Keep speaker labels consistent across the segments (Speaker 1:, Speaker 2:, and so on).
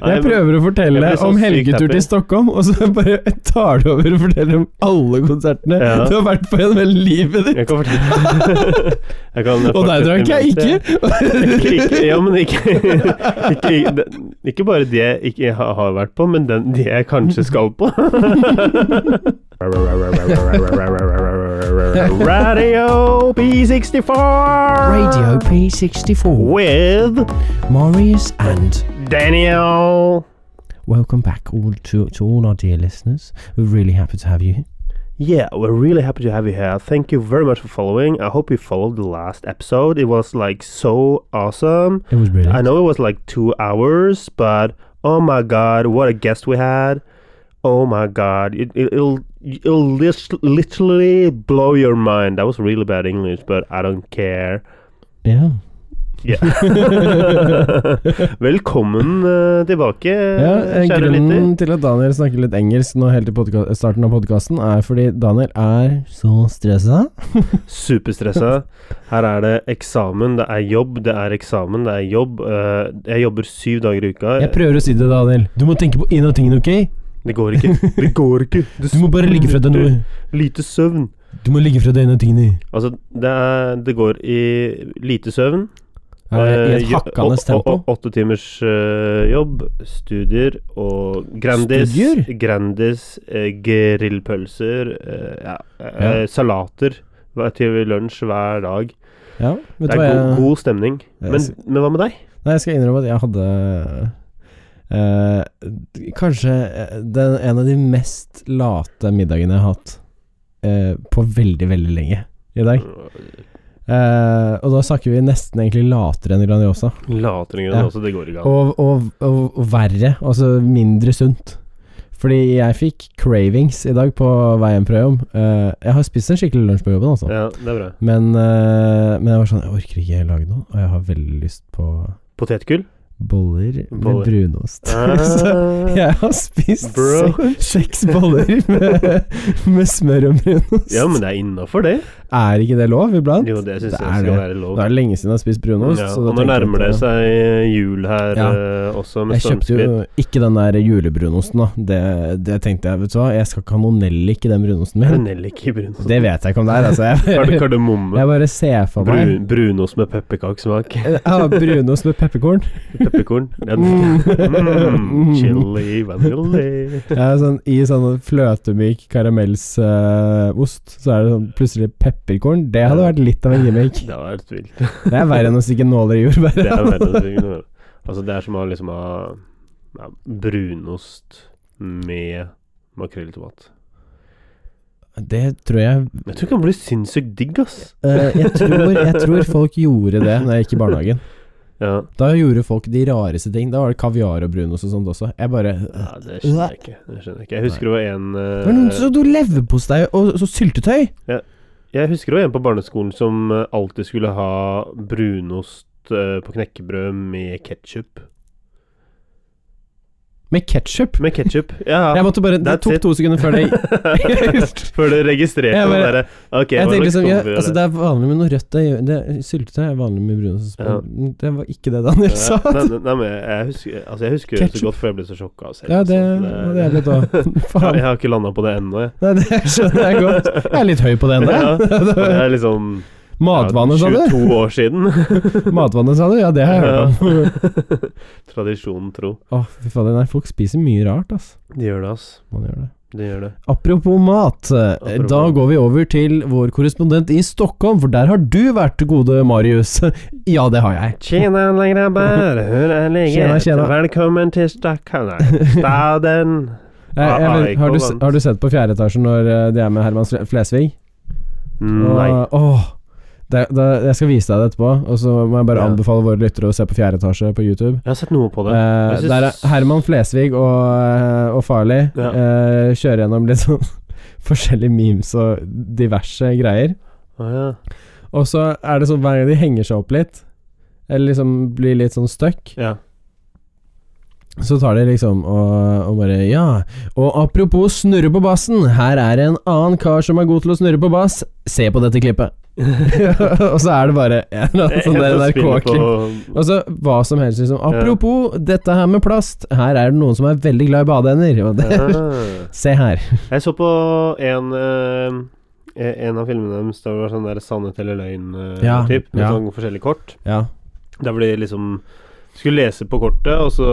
Speaker 1: Jeg prøver å fortelle
Speaker 2: Jeg blir så
Speaker 1: om
Speaker 2: sykt
Speaker 1: helgetur
Speaker 2: happy.
Speaker 1: til Stockholm, og så bare tar du over og forteller om alle konsertene
Speaker 2: Ja.
Speaker 1: du har vært på gjennom hele livet ditt.
Speaker 2: Jeg kan fortelle er jeg kan
Speaker 1: Og der
Speaker 2: fortsette
Speaker 1: drakk jeg
Speaker 2: med-
Speaker 1: ikke!
Speaker 2: ikke, ikke, ja, men ikke, ikke, ikke, ikke bare det jeg ikke jeg har har vært på, men den, det jeg kanskje skal på. Radio P64
Speaker 1: Radio P64
Speaker 2: with
Speaker 1: Marius and
Speaker 2: Daniel.
Speaker 1: welcome back all to, to all our dear listeners. We're really happy to have you here.
Speaker 2: Yeah, we're really happy to have you here. Thank you very much for following. I hope you followed the last episode. It was like so awesome.
Speaker 1: It was
Speaker 2: I
Speaker 1: brilliant.
Speaker 2: know it was like two hours, but oh my god, what a guest we had! Oh my god, it, it, it'll it'll lit- literally blow your mind. That was really bad English, but I don't care.
Speaker 1: Yeah.
Speaker 2: Yeah. Velkommen eh, tilbake,
Speaker 1: Ja, eh,
Speaker 2: kjære lytter.
Speaker 1: grunnen til at Daniel snakker litt engelsk nå helt i podka- starten av podkasten, er fordi Daniel er så stressa.
Speaker 2: Superstressa. Her er det eksamen, det er jobb, det er eksamen, det er jobb. Eh, Jeg jobber syv dager i uka.
Speaker 1: Jeg prøver å si det, Daniel. Du må tenke på én av tingene, ok?
Speaker 2: Det går ikke. Det går ikke. Det
Speaker 1: Du må bare ligge fra deg noe.
Speaker 2: Lite søvn.
Speaker 1: Du må ligge fra deg en av tingene.
Speaker 2: Altså, det, er, det går i lite søvn.
Speaker 1: Er det I
Speaker 2: eh,
Speaker 1: et
Speaker 2: jo-
Speaker 1: hakkende
Speaker 2: å- å-
Speaker 1: tempo.
Speaker 2: å- Åtte timers eh, jobb, studier og Grandis.
Speaker 1: Studier?
Speaker 2: Grandis, eh, grillpølser, eh, ja, eh,
Speaker 1: Ja.
Speaker 2: salater hver- til lunsj hver dag.
Speaker 1: Ja, vet du
Speaker 2: Det er
Speaker 1: hva jeg
Speaker 2: god, god stemning.
Speaker 1: Jeg
Speaker 2: Men,
Speaker 1: sy-
Speaker 2: men hva med deg?
Speaker 1: Nei, jeg skal innrømme at jeg hadde eh, Kanskje eh, den, en av de mest late middagene jeg har hatt eh, på veldig, veldig lenge i dag. Eh, og da snakker vi nesten egentlig latere enn Grandiosa.
Speaker 2: Latringen
Speaker 1: Ja.
Speaker 2: også, altså, det går ikke an.
Speaker 1: Og, og, og, og verre, altså mindre sunt. Fordi jeg fikk cravings i dag på vei hjem fra jobb. Eh, jeg har spist en skikkelig lunsj på jobben, altså.
Speaker 2: Ja, det er bra.
Speaker 1: Men, eh, men jeg var sånn Jeg orker ikke lage noe, og jeg har veldig lyst på
Speaker 2: Potetgull?
Speaker 1: boller,
Speaker 2: Boller.
Speaker 1: med brunost. så
Speaker 2: Ah,
Speaker 1: jeg har spist
Speaker 2: Bro.
Speaker 1: seks- seks boller med, med smør og brunost.
Speaker 2: Ja, men det er innafor, det.
Speaker 1: Er ikke det lov iblant?
Speaker 2: Jo, det syns jeg
Speaker 1: Det er
Speaker 2: skal
Speaker 1: det.
Speaker 2: være lov.
Speaker 1: Det er lenge siden jeg har spist brunost.
Speaker 2: Ja,
Speaker 1: så da
Speaker 2: og nå
Speaker 1: tenker jeg
Speaker 2: nærmer det
Speaker 1: at-
Speaker 2: seg jul her
Speaker 1: Ja.
Speaker 2: eh, også, med
Speaker 1: Jeg kjøpte
Speaker 2: stormskritt.
Speaker 1: jo ikke den der julebrunosten, da. Det, det tenkte jeg, vet du hva. Jeg skal ikke ha noe nellik i den brunosten min.
Speaker 2: Nellik i brunost.
Speaker 1: Det vet jeg ikke om det er, altså.
Speaker 2: Kard
Speaker 1: Jeg,
Speaker 2: kardemomme.
Speaker 1: jeg bare ser for meg
Speaker 2: Brun, brunost med pepperkakesmak.
Speaker 1: Jeg har brunost med pepperkorn.
Speaker 2: Pepperkorn. Ja,
Speaker 1: Mm.
Speaker 2: mm,
Speaker 1: Mm.
Speaker 2: chili vanilje.
Speaker 1: Jeg er sånn, I sånn fløtemyk karamellsost, så er det sånn plutselig pepperkorn. Det hadde vært litt av en gimmick.
Speaker 2: Det var helt vilt.
Speaker 1: Det er verre enn å stikke nåler i jordbæret.
Speaker 2: Det er verdens ting. Altså, det er som å liksom ha ja, brunost med makrell i tomat.
Speaker 1: Det tror jeg
Speaker 2: Jeg tror det kan bli sinnssykt digg, ass.
Speaker 1: eh, jeg, tror, jeg tror folk gjorde det når jeg gikk i barnehagen.
Speaker 2: Ja,
Speaker 1: Da gjorde folk de rareste ting. Da var det kaviar og brunost og sånt også. Jeg bare
Speaker 2: ja det skjønner jeg ikke. Det skjønner jeg ikke. Jeg husker det var en eh,
Speaker 1: Men noen som du leverpostei og så syltetøy?
Speaker 2: Jeg husker også en på barneskolen som eh, alltid skulle ha brunost eh, på knekkebrød med ketsjup.
Speaker 1: Med ketsjup?
Speaker 2: Med ketsjup, ja.
Speaker 1: Jeg måtte bare Det
Speaker 2: That's
Speaker 1: tok
Speaker 2: it.
Speaker 1: to sekunder før det
Speaker 2: Før du registrerte
Speaker 1: Jeg bare-
Speaker 2: det derre
Speaker 1: Jeg
Speaker 2: Ok,
Speaker 1: tenkte
Speaker 2: hva slags
Speaker 1: liksom ja,
Speaker 2: kombi er
Speaker 1: altså Det er vanlig med noe rødt det, det, Syltetøy er vanlig med brunost.
Speaker 2: Ja.
Speaker 1: Det var ikke det Daniel sa.
Speaker 2: Ja, Nei, nei, nei, men jeg- jeg husker, altså jeg husker det så
Speaker 1: sånn. Ketchup.
Speaker 2: godt, for jeg ble så sjokka av selv.
Speaker 1: Ja, det
Speaker 2: altså.
Speaker 1: hadde jeg blitt òg.
Speaker 2: Ja, Jeg
Speaker 1: Faen.
Speaker 2: har ikke landa på det ennå, jeg.
Speaker 1: Nei, det skjønner jeg godt. Jeg er litt høy på det
Speaker 2: Ja, og Det
Speaker 1: ennå.
Speaker 2: er liksom ja,
Speaker 1: Matvannet, sa du?
Speaker 2: 22 år siden.
Speaker 1: Matvannet, sa du? Ja, det har jeg hørt om.
Speaker 2: Tradisjonen tro.
Speaker 1: Å, fy fader. Nei, folk spiser mye rart, ass.
Speaker 2: De gjør det, ass.
Speaker 1: Man gjør det.
Speaker 2: De gjør det.
Speaker 1: Apropos mat, eh,
Speaker 2: Apropos.
Speaker 1: da går vi over til vår korrespondent i Stockholm, for der har du vært, gode Marius. Ja, det har jeg.
Speaker 2: Tjena alla grabbar, hur är läget?
Speaker 1: Tjena, tjena.
Speaker 2: Välkommen till Stackarna, staden.
Speaker 1: jeg, jeg vet, Eh, har, du,
Speaker 2: AIK vant.
Speaker 1: har du sett på fjerde etasje når eh, de er med Herman Fle- Flesvig? Og-
Speaker 2: Nei.
Speaker 1: Åh, det, det, jeg skal vise deg det etterpå, og så må jeg bare
Speaker 2: Ja.
Speaker 1: anbefale våre lyttere å se på fjerde etasje på YouTube.
Speaker 2: Jeg har sett noe på det.
Speaker 1: Eh,
Speaker 2: Jeg synes-
Speaker 1: der er Herman Flesvig og, eh, og Farley
Speaker 2: Ja.
Speaker 1: eh, kjører gjennom litt sånn forskjellige memes og diverse greier.
Speaker 2: Å, ja.
Speaker 1: Og så er det sånn hver gang de henger seg opp litt, eller liksom blir litt sånn stuck,
Speaker 2: ja.
Speaker 1: Så tar de liksom og, og bare Ja. Og apropos snurre på bassen. Her er en annen kar som er god til å snurre på bass. Se på dette klippet. og så er det bare en eller annen sånn der NRK-klipp.
Speaker 2: NRK-klipp.
Speaker 1: Altså, hva som helst, liksom. Apropos dette her med plast. Her er det noen som er veldig glad i badeender. Og det, se her.
Speaker 2: Jeg så på en eh, En av filmene deres der det var sånn der sannhet eller løgn eh,
Speaker 1: Ja,
Speaker 2: typ, med
Speaker 1: ja.
Speaker 2: sånn forskjellige kort.
Speaker 1: Ja.
Speaker 2: Der hvor de liksom skulle lese på kortet, og så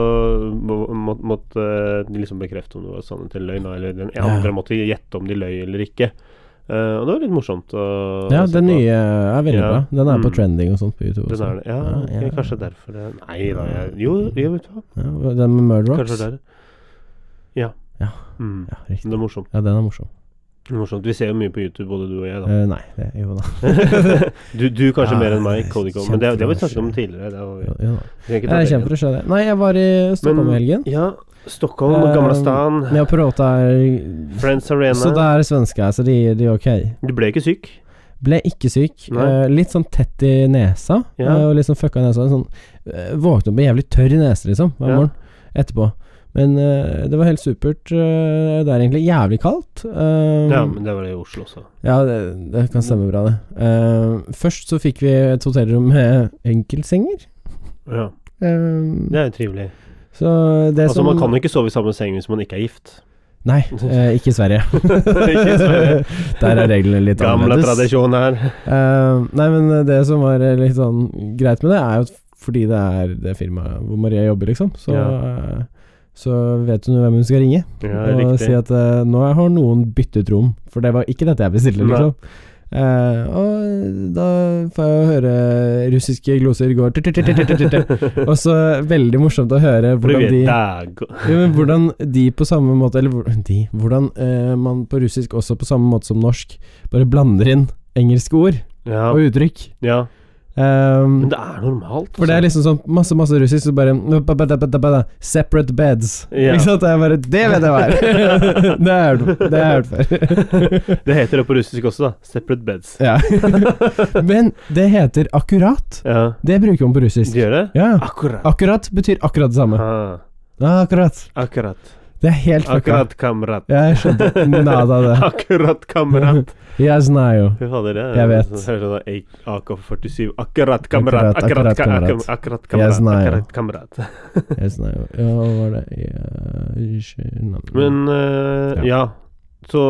Speaker 2: må- må- måtte eh, de liksom bekrefte om det var sannhet eller løgn, da, eller den
Speaker 1: Ja.
Speaker 2: andre måtte gjette om de løy eller ikke. Eh, og det var litt morsomt. å-
Speaker 1: ja,
Speaker 2: å se
Speaker 1: den
Speaker 2: på.
Speaker 1: nye er veldig
Speaker 2: Ja.
Speaker 1: bra. Den er på
Speaker 2: Mm.
Speaker 1: trending og sånt på YouTube.
Speaker 2: Den
Speaker 1: Også.
Speaker 2: er det. Ja,
Speaker 1: Ja, ja.
Speaker 2: ok, kanskje derfor det Nei da, jeg Jo, jeg vet hva.
Speaker 1: Ja, den med Murder
Speaker 2: Kanskje
Speaker 1: Rocks.
Speaker 2: det er det. Ja.
Speaker 1: Ja.
Speaker 2: Mm.
Speaker 1: Ja, riktig.
Speaker 2: Det er morsomt.
Speaker 1: Ja, den er morsom.
Speaker 2: Det er morsomt. Vi ser jo mye på YouTube, både du og jeg, da.
Speaker 1: Eh, nei, det, jo da.
Speaker 2: du, du kanskje
Speaker 1: Ja,
Speaker 2: mer enn meg,
Speaker 1: jeg
Speaker 2: Cody Cole. Men det, det har vi
Speaker 1: kjemper-
Speaker 2: snakket om tidligere. Det var,
Speaker 1: Jo, jo da.
Speaker 2: vi trenger ikke ta
Speaker 1: Jeg
Speaker 2: det
Speaker 1: kjemper å skjønne det. Nei, jeg var i
Speaker 2: igjen.
Speaker 1: Stockholm i helgen.
Speaker 2: Ja, Stockholm, gamla
Speaker 1: Eh,
Speaker 2: stan,
Speaker 1: Men jag pratar
Speaker 2: Friends Arena.
Speaker 1: Så det er svenska, så det, det er ok.
Speaker 2: Du ble ikke syk?
Speaker 1: Ble ikke syk.
Speaker 2: Nei.
Speaker 1: eh, litt sånn tett i nesa.
Speaker 2: Ja.
Speaker 1: eh, og litt sånn fucka nesa. Sånn, eh, våkne opp med jævlig tørr nese, liksom, hver
Speaker 2: Ja.
Speaker 1: morgen etterpå. Men eh, det var helt supert. eh, det er egentlig jævlig kaldt. eh,
Speaker 2: Ja, men det var det i Oslo også.
Speaker 1: ja, det, det kan stemme bra, det. Eh, først så fikk vi et hotellrom med enkeltsenger.
Speaker 2: Ja,
Speaker 1: Eh,
Speaker 2: Det er jo trivelig.
Speaker 1: Så det
Speaker 2: Altså,
Speaker 1: som
Speaker 2: man kan jo ikke sove i samme seng hvis man ikke er gift.
Speaker 1: Nei, eh, ikke i Sverige.
Speaker 2: Ikke i Sverige.
Speaker 1: Der er reglene litt
Speaker 2: Gamle
Speaker 1: annerledes.
Speaker 2: tradisjon her.
Speaker 1: Eh, nei, men det som var eh, litt sånn greit med det, er jo at fordi det er det firmaet hvor Maria jobber, liksom, så, eh, så vet hun jo hvem hun skal ringe.
Speaker 2: Ja,
Speaker 1: og si
Speaker 2: riktig.
Speaker 1: at eh, nå har noen byttet rom, for det var ikke dette jeg bestilte,
Speaker 2: Nei.
Speaker 1: liksom. Eh, og da får jeg jo høre russiske gloser går tut-tut-tut-tut-tut. Og så veldig morsomt å høre
Speaker 2: For du
Speaker 1: hvordan
Speaker 2: vet,
Speaker 1: de
Speaker 2: det er go-
Speaker 1: jo, men hvordan de på samme måte Eller hvor- de Hvordan eh, man på russisk også på samme måte som norsk bare blander inn engelske ord
Speaker 2: ja,
Speaker 1: og uttrykk.
Speaker 2: ja.
Speaker 1: Ehm,
Speaker 2: Men det er normalt.
Speaker 1: for det er
Speaker 2: altså.
Speaker 1: liksom sånn masse, masse russisk, så bare Separate beds.
Speaker 2: Ja.
Speaker 1: Ikke sant? Det er bare Det vet jeg hva er! det er det har jeg hørt før.
Speaker 2: Det heter det på russisk også, da. Separate beds.
Speaker 1: ja. Men det heter akkurat.
Speaker 2: Ja.
Speaker 1: Det bruker man på
Speaker 2: De
Speaker 1: russisk.
Speaker 2: gjør det?
Speaker 1: Ja.
Speaker 2: Akkurat.
Speaker 1: Akkurat betyr akkurat det samme.
Speaker 2: Ah,
Speaker 1: Ja, akkurat.
Speaker 2: akkurat.
Speaker 1: Det er helt fucka.
Speaker 2: Akkurat, kamerat.
Speaker 1: Ja, Jeg skjønte nada av det.
Speaker 2: Akkurat, kamerat.
Speaker 1: Jeg snakker jo.
Speaker 2: Fy fader, det er
Speaker 1: Jeg vet.
Speaker 2: sånn- hører sånn A- AK-47. Akkurat,
Speaker 1: Akkurat,
Speaker 2: kamerat. Akkurat,
Speaker 1: akkurat,
Speaker 2: ka-
Speaker 1: kamerat.
Speaker 2: akkurat, akkurat,
Speaker 1: Jeg
Speaker 2: kamerat.
Speaker 1: snakker.
Speaker 2: Akkurat, kamerat.
Speaker 1: Jeg snakker jo. Ja, hva var det Jeg skjønner.
Speaker 2: Men
Speaker 1: Ja.
Speaker 2: eh, ja. Så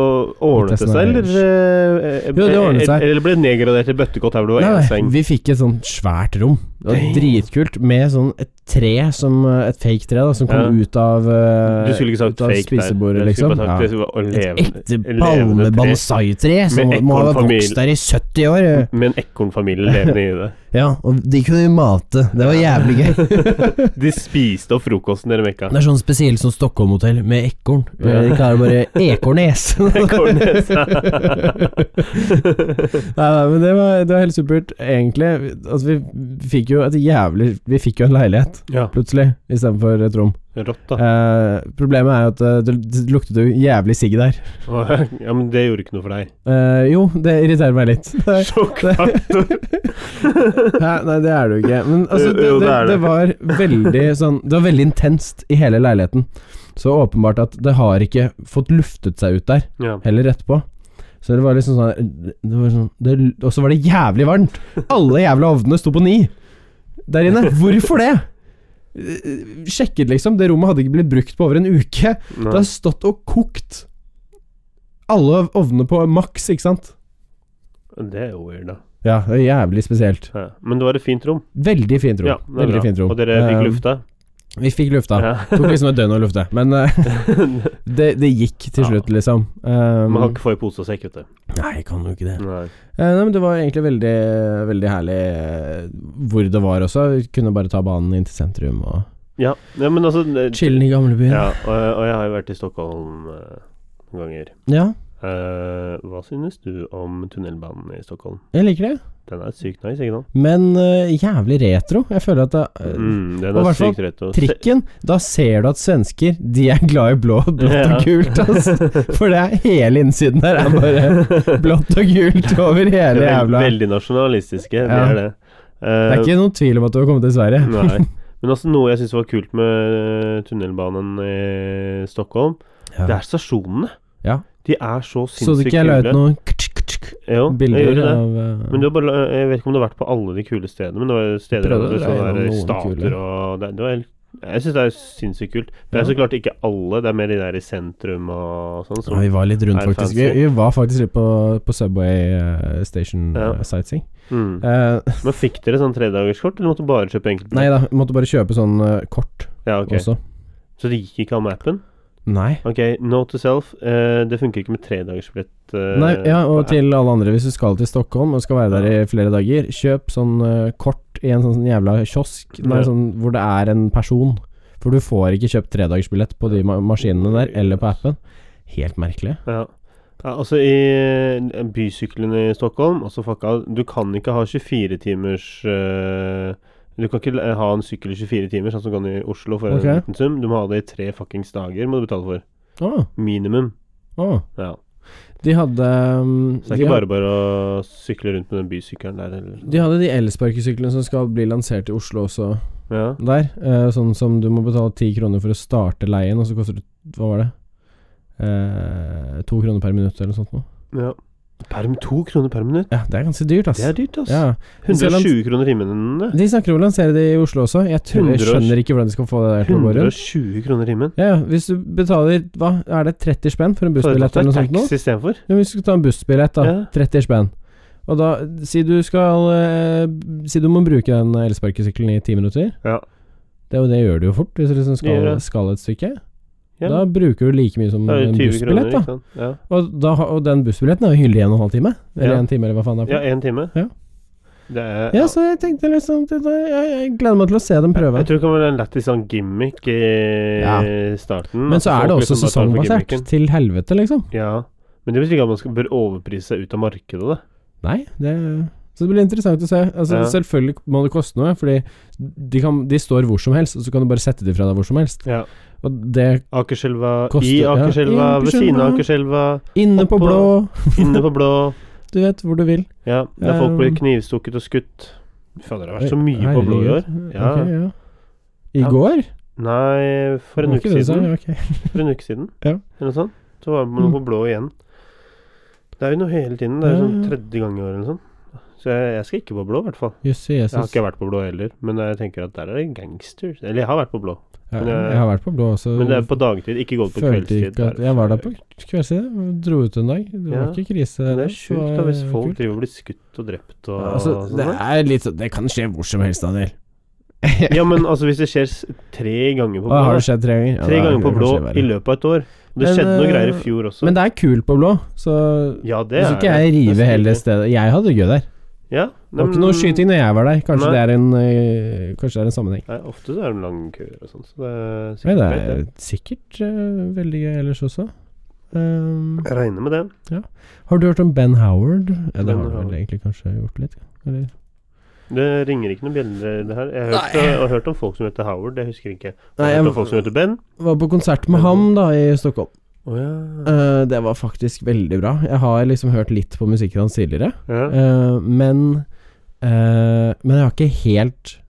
Speaker 2: ordnet
Speaker 1: Litt av
Speaker 2: det seg,
Speaker 1: sånn
Speaker 2: eller? eh, eh,
Speaker 1: Jo, det ordnet seg.
Speaker 2: Eller ble det nedgradert til bøttekott her hvor det var én
Speaker 1: Nei,
Speaker 2: seng?
Speaker 1: vi fikk et sånt svært rom. Det var
Speaker 2: Damn.
Speaker 1: dritkult. Med sånn et tre, som, eh, et fake tre, da, som kom
Speaker 2: Ja.
Speaker 1: ut av eh,
Speaker 2: Du skulle ikke
Speaker 1: ut
Speaker 2: sagt
Speaker 1: av
Speaker 2: fake der.
Speaker 1: spisebordet,
Speaker 2: Du skulle
Speaker 1: liksom.
Speaker 2: bare sagt
Speaker 1: Ja.
Speaker 2: det skulle være
Speaker 1: Et
Speaker 2: levende-
Speaker 1: ekte
Speaker 2: levende tre.
Speaker 1: palme-bonsai-tre som
Speaker 2: Med
Speaker 1: må ha
Speaker 2: ekornfamilie.
Speaker 1: vokst der i 70 år. eh.
Speaker 2: Med en ekornfamilie levende i det.
Speaker 1: Ja, og de kunne vi mate. Det var jævlig gøy.
Speaker 2: De spiste opp frokosten dere mekka.
Speaker 1: Det er sånn spesielt sånn Stockholm-hotell med ekorn. Eh, Ikke er det bare ekornes.
Speaker 2: Ekornes.
Speaker 1: Nei, nei, men det var, det var helt supert, egentlig. Altså, vi fikk jo et jævlig Vi fikk jo en leilighet,
Speaker 2: ja.
Speaker 1: plutselig, istedenfor et rom.
Speaker 2: Rått, da.
Speaker 1: Eh, problemet er jo at eh, det, det luktet jo jævlig sigg der.
Speaker 2: Ja, men det gjorde ikke noe for deg.
Speaker 1: Eh, jo, det irriterer meg litt. Nei,
Speaker 2: Sjokkfaktor.
Speaker 1: nei, det er det jo ikke. Men altså,
Speaker 2: Jo,
Speaker 1: det,
Speaker 2: jo, det
Speaker 1: det,
Speaker 2: er
Speaker 1: det
Speaker 2: det.
Speaker 1: var veldig sånn Det var veldig intenst i hele leiligheten. Så åpenbart at det har ikke fått luftet seg ut der.
Speaker 2: Ja.
Speaker 1: heller etterpå. Så det var liksom sånn det var sånn, det, Og så var det jævlig varmt! Alle jævla ovnene sto på ni der inne. Hvorfor det? Eh, Sjekket, liksom. Det rommet hadde ikke blitt brukt på over en uke. Det
Speaker 2: Nei.
Speaker 1: har stått og kokt. Alle ovnene på maks, ikke sant?
Speaker 2: Det er jo weird, da.
Speaker 1: Ja, det er jævlig spesielt.
Speaker 2: Ja. Men det var et fint rom.
Speaker 1: Veldig fint rom.
Speaker 2: Ja, det er
Speaker 1: Veldig
Speaker 2: bra.
Speaker 1: fint rom.
Speaker 2: Og dere fikk
Speaker 1: Eh,
Speaker 2: lufta?
Speaker 1: Vi fikk lufta.
Speaker 2: Ja.
Speaker 1: Tok liksom et døgn å lufte, men eh, det, det gikk til
Speaker 2: Ja.
Speaker 1: slutt, liksom. Um,
Speaker 2: Man kan ikke få i pose og sekk, vet du.
Speaker 1: Nei, kan jo ikke det.
Speaker 2: Nei.
Speaker 1: Eh, Nei, men Det var egentlig veldig, veldig herlig eh, hvor det var også. Vi kunne bare ta banen inn til sentrum og
Speaker 2: Ja. ja, men altså det-
Speaker 1: chillen i gamlebyen. Ja.
Speaker 2: Ja, og, jeg- og jeg har jo vært i Stockholm eh, noen ganger.
Speaker 1: ja,
Speaker 2: Eh, hva synes du om tunnelbanen i Stockholm?
Speaker 1: jeg liker det.
Speaker 2: Den er sykt nice, ikke sant?
Speaker 1: Men eh, jævlig retro. Jeg føler at det, eh,
Speaker 2: Mm,
Speaker 1: og
Speaker 2: den er
Speaker 1: hvert fall
Speaker 2: sykt rett og
Speaker 1: Trikken, da ser du at svensker De er glad i blå, blått
Speaker 2: Ja.
Speaker 1: og gult. Altså. For det er hele innsiden der er bare blått og gult over hele
Speaker 2: Veld-
Speaker 1: jævla Det
Speaker 2: Veldig nasjonalistiske, det
Speaker 1: Ja.
Speaker 2: er det. Eh, Mm.
Speaker 1: er ikke noen tvil om at du har kommet til Sverige.
Speaker 2: Nei. Men altså noe jeg syns var kult med eh, tunnelbanen i Stockholm, det
Speaker 1: Ja.
Speaker 2: er stasjonene.
Speaker 1: Ja.
Speaker 2: De er så
Speaker 1: Så du
Speaker 2: sinnssykt
Speaker 1: ikke jeg la ut
Speaker 2: kule.
Speaker 1: noen ktsk, ktsk
Speaker 2: Jo, jeg
Speaker 1: bilder
Speaker 2: gjorde det.
Speaker 1: av eh,
Speaker 2: Men det var bare, jeg vet ikke om det har vært på alle de kule stedene, men det var steder
Speaker 1: Prøvde
Speaker 2: over
Speaker 1: å
Speaker 2: sånn
Speaker 1: regne
Speaker 2: der,
Speaker 1: noen
Speaker 2: stater
Speaker 1: kule.
Speaker 2: og det, det var, helt- Jeg syns det er sinnssykt kult. Det er
Speaker 1: Ja.
Speaker 2: så klart ikke alle, det er mer de der i sentrum og sånn.
Speaker 1: ja,
Speaker 2: Som,
Speaker 1: vi var litt rundt,
Speaker 2: er
Speaker 1: faktisk. Vi,
Speaker 2: fancy.
Speaker 1: vi var faktisk litt på, på Subway eh, Station
Speaker 2: Ja.
Speaker 1: eh, sightseeing.
Speaker 2: mm.
Speaker 1: Eh,
Speaker 2: Men fikk dere sånn tredagerskort, eller måtte du bare kjøpe enkelt?
Speaker 1: nei da, vi måtte bare kjøpe sånn eh, kort
Speaker 2: Ja, ok.
Speaker 1: også.
Speaker 2: Så det gikk ikke an med appen?
Speaker 1: Nei.
Speaker 2: Ok, no to self. Eh, det funker ikke med tredagersbillett. Uh,
Speaker 1: Nei, ja, og til alle andre, hvis du skal til Stockholm og skal være der i flere dager, kjøp sånn eh, kort i en sånn jævla kiosk nei,
Speaker 2: Ja.
Speaker 1: sånn, hvor det er en person. For du får ikke kjøpt tredagersbillett på de ma maskinene der, eller på appen. Helt merkelig.
Speaker 2: Ja. ja altså i eh, bysyklen i Stockholm, altså fucka, du kan ikke ha 24 timers eh, Du kan ikke eh, ha en sykkel i 24 timer, sånn som du kan i Oslo for
Speaker 1: Ok.
Speaker 2: en liten sum. Du må ha det i tre fuckings dager, må du betale for.
Speaker 1: Å,
Speaker 2: Minimum.
Speaker 1: å.
Speaker 2: Ja.
Speaker 1: De hadde mm,
Speaker 2: Så det er
Speaker 1: de
Speaker 2: ikke
Speaker 1: had-
Speaker 2: bare bare å sykle rundt med den bysykkelen der, eller
Speaker 1: de hadde de elsparkesyklene som skal bli lansert i Oslo også
Speaker 2: Ja.
Speaker 1: der. eh, sånn som du må betale ti kroner for å starte leien, og så koster det Hva var det? Eh, to kroner per minutt eller noe sånt noe.
Speaker 2: ja. Per, to kroner per minutt.
Speaker 1: Ja, det er ganske dyrt, ass.
Speaker 2: Det er dyrt, ass.
Speaker 1: ja. Selv om-
Speaker 2: 120 kroner timen. det.
Speaker 1: De snakker om å lansere det i Oslo også. Jeg, tror, jeg
Speaker 2: 100
Speaker 1: skjønner ikke hvordan de skal få det der til å gå rundt.
Speaker 2: 120 kroner timen.
Speaker 1: Ja, ja, hvis du betaler hva, er det 30 spenn for en bussbillett
Speaker 2: Foreslått
Speaker 1: eller
Speaker 2: er
Speaker 1: noe sånt nå?
Speaker 2: taxi istedenfor.
Speaker 1: Ja, men hvis du skal ta en bussbillett, da.
Speaker 2: Ja.
Speaker 1: 30 spenn. Og da, si du skal eh, b- Si du må bruke den elsparkesykkelen i ti minutter.
Speaker 2: Ja.
Speaker 1: Det, er jo det gjør du jo fort, hvis du liksom
Speaker 2: Det
Speaker 1: skal,
Speaker 2: gjør det.
Speaker 1: skal et stykke.
Speaker 2: Ja.
Speaker 1: Da bruker du like mye som
Speaker 2: Da er
Speaker 1: en
Speaker 2: det 20 kroner,
Speaker 1: bussbillett,
Speaker 2: ikke
Speaker 1: da.
Speaker 2: sant. Ja.
Speaker 1: Og, da. ha- og den bussbilletten er jo hyggelig i en og en halv time. Eller
Speaker 2: Ja.
Speaker 1: en time, eller hva faen det er.
Speaker 2: Ja,
Speaker 1: for noe.
Speaker 2: én time.
Speaker 1: Ja.
Speaker 2: Det er,
Speaker 1: Ja, så jeg tenkte liksom det- det- Jeg jeg gleder meg til å se dem prøve.
Speaker 2: Jeg tror det kan være en lættis sånn gimmick i
Speaker 1: Ja.
Speaker 2: starten.
Speaker 1: Men
Speaker 2: at
Speaker 1: så er
Speaker 2: folk
Speaker 1: det også
Speaker 2: liksom bare tar for
Speaker 1: sesongbasert.
Speaker 2: gimmicken.
Speaker 1: Til helvete, liksom.
Speaker 2: Ja. Men det betyr ikke at man skal, bør overprise seg ut av markedet, da.
Speaker 1: Nei, det Så det blir interessant å se. Altså,
Speaker 2: Ja.
Speaker 1: Selvfølgelig må det koste noe, fordi de, kan, de står hvor som helst, og så kan du bare sette de fra deg hvor som helst.
Speaker 2: Ja.
Speaker 1: Og det
Speaker 2: Akerselva,
Speaker 1: Koster-
Speaker 2: i
Speaker 1: ja, i
Speaker 2: Akerselva, ved siden av Akerselva,
Speaker 1: Inne på
Speaker 2: Oppå-
Speaker 1: blå,
Speaker 2: inne på blå.
Speaker 1: du vet hvor du vil.
Speaker 2: Ja, der folk blir
Speaker 1: Um,
Speaker 2: knivstukket og skutt. Fader, det har vært så mye på
Speaker 1: Herregud.
Speaker 2: blå i år. Ja.
Speaker 1: Ok, ja. I
Speaker 2: Ja,
Speaker 1: går?
Speaker 2: Nei, for en
Speaker 1: Var
Speaker 2: uke
Speaker 1: ikke det
Speaker 2: siden.
Speaker 1: sånn? Ok.
Speaker 2: For en uke siden,
Speaker 1: Ja. Mm.
Speaker 2: eller noe sånt. Så var man på blå igjen. Det er jo noe hele tiden. Det er jo
Speaker 1: Ja,
Speaker 2: sånn
Speaker 1: ja.
Speaker 2: tredje gang i år eller sånn. Så jeg, jeg skal ikke på blå, i hvert fall.
Speaker 1: Jøss,
Speaker 2: Jeg har
Speaker 1: Jesus.
Speaker 2: ikke vært på blå heller, men jeg tenker at der er det gangsters. Eller jeg har vært på blå,
Speaker 1: Ja,
Speaker 2: men jeg-
Speaker 1: jeg har vært på blå også.
Speaker 2: men det er på dagtid, ikke gått på
Speaker 1: Følte
Speaker 2: kveldstid.
Speaker 1: ikke at
Speaker 2: Der.
Speaker 1: Jeg var der på kveldstid. Dro ut en dag. Det var
Speaker 2: Ja.
Speaker 1: ikke krise.
Speaker 2: Men det
Speaker 1: der,
Speaker 2: er
Speaker 1: så
Speaker 2: sjukt da hvis
Speaker 1: var
Speaker 2: folk
Speaker 1: kult.
Speaker 2: driver og blir skutt og drept og
Speaker 1: Ja, altså,
Speaker 2: sånn.
Speaker 1: det
Speaker 2: da.
Speaker 1: er litt sånn Det kan skje hvor som helst, Daniel.
Speaker 2: Ja, men altså hvis det skjer s- tre ganger på
Speaker 1: Å, har
Speaker 2: blå
Speaker 1: det skjedd tre ganger? Ja,
Speaker 2: Tre
Speaker 1: da
Speaker 2: ganger på
Speaker 1: kan det
Speaker 2: blå
Speaker 1: kanskje være.
Speaker 2: i løpet av et år. Og det
Speaker 1: Men,
Speaker 2: skjedde noe
Speaker 1: eh,
Speaker 2: greier i fjor også.
Speaker 1: Men det er kult på blå, så
Speaker 2: ja, det
Speaker 1: hvis
Speaker 2: er
Speaker 1: ikke jeg river hele det stedet Jeg hadde det gøy der.
Speaker 2: Ja,
Speaker 1: Det var ikke noe skyting når jeg var der. Kanskje,
Speaker 2: Nei.
Speaker 1: det er, en, øh, kanskje det er en sammenheng.
Speaker 2: Nei, ofte så er det lange køer og sånn, så det er
Speaker 1: Nei,
Speaker 2: sikkert
Speaker 1: det
Speaker 2: greit,
Speaker 1: er sikkert øh, veldig gøy ellers også. Ehm,
Speaker 2: Jeg regner med det.
Speaker 1: har du hørt om Ben Howard? Ja,
Speaker 2: Ben
Speaker 1: det har du
Speaker 2: Howard.
Speaker 1: vel egentlig kanskje gjort litt? Eller?
Speaker 2: Det ringer ikke noen bjeller, det her. Jeg har hørt,
Speaker 1: Nei.
Speaker 2: jeg har hørt om folk som heter Howard, det husker jeg ikke. Jeg
Speaker 1: Nei,
Speaker 2: har
Speaker 1: jeg
Speaker 2: hørt om folk som heter Ben.
Speaker 1: var på konsert med ham da i Stockholm.
Speaker 2: Å ja.
Speaker 1: Eh, det var faktisk veldig bra. Jeg har liksom hørt litt på musikken hans tidligere.
Speaker 2: ja.
Speaker 1: Eh, men eh, Men jeg har ikke helt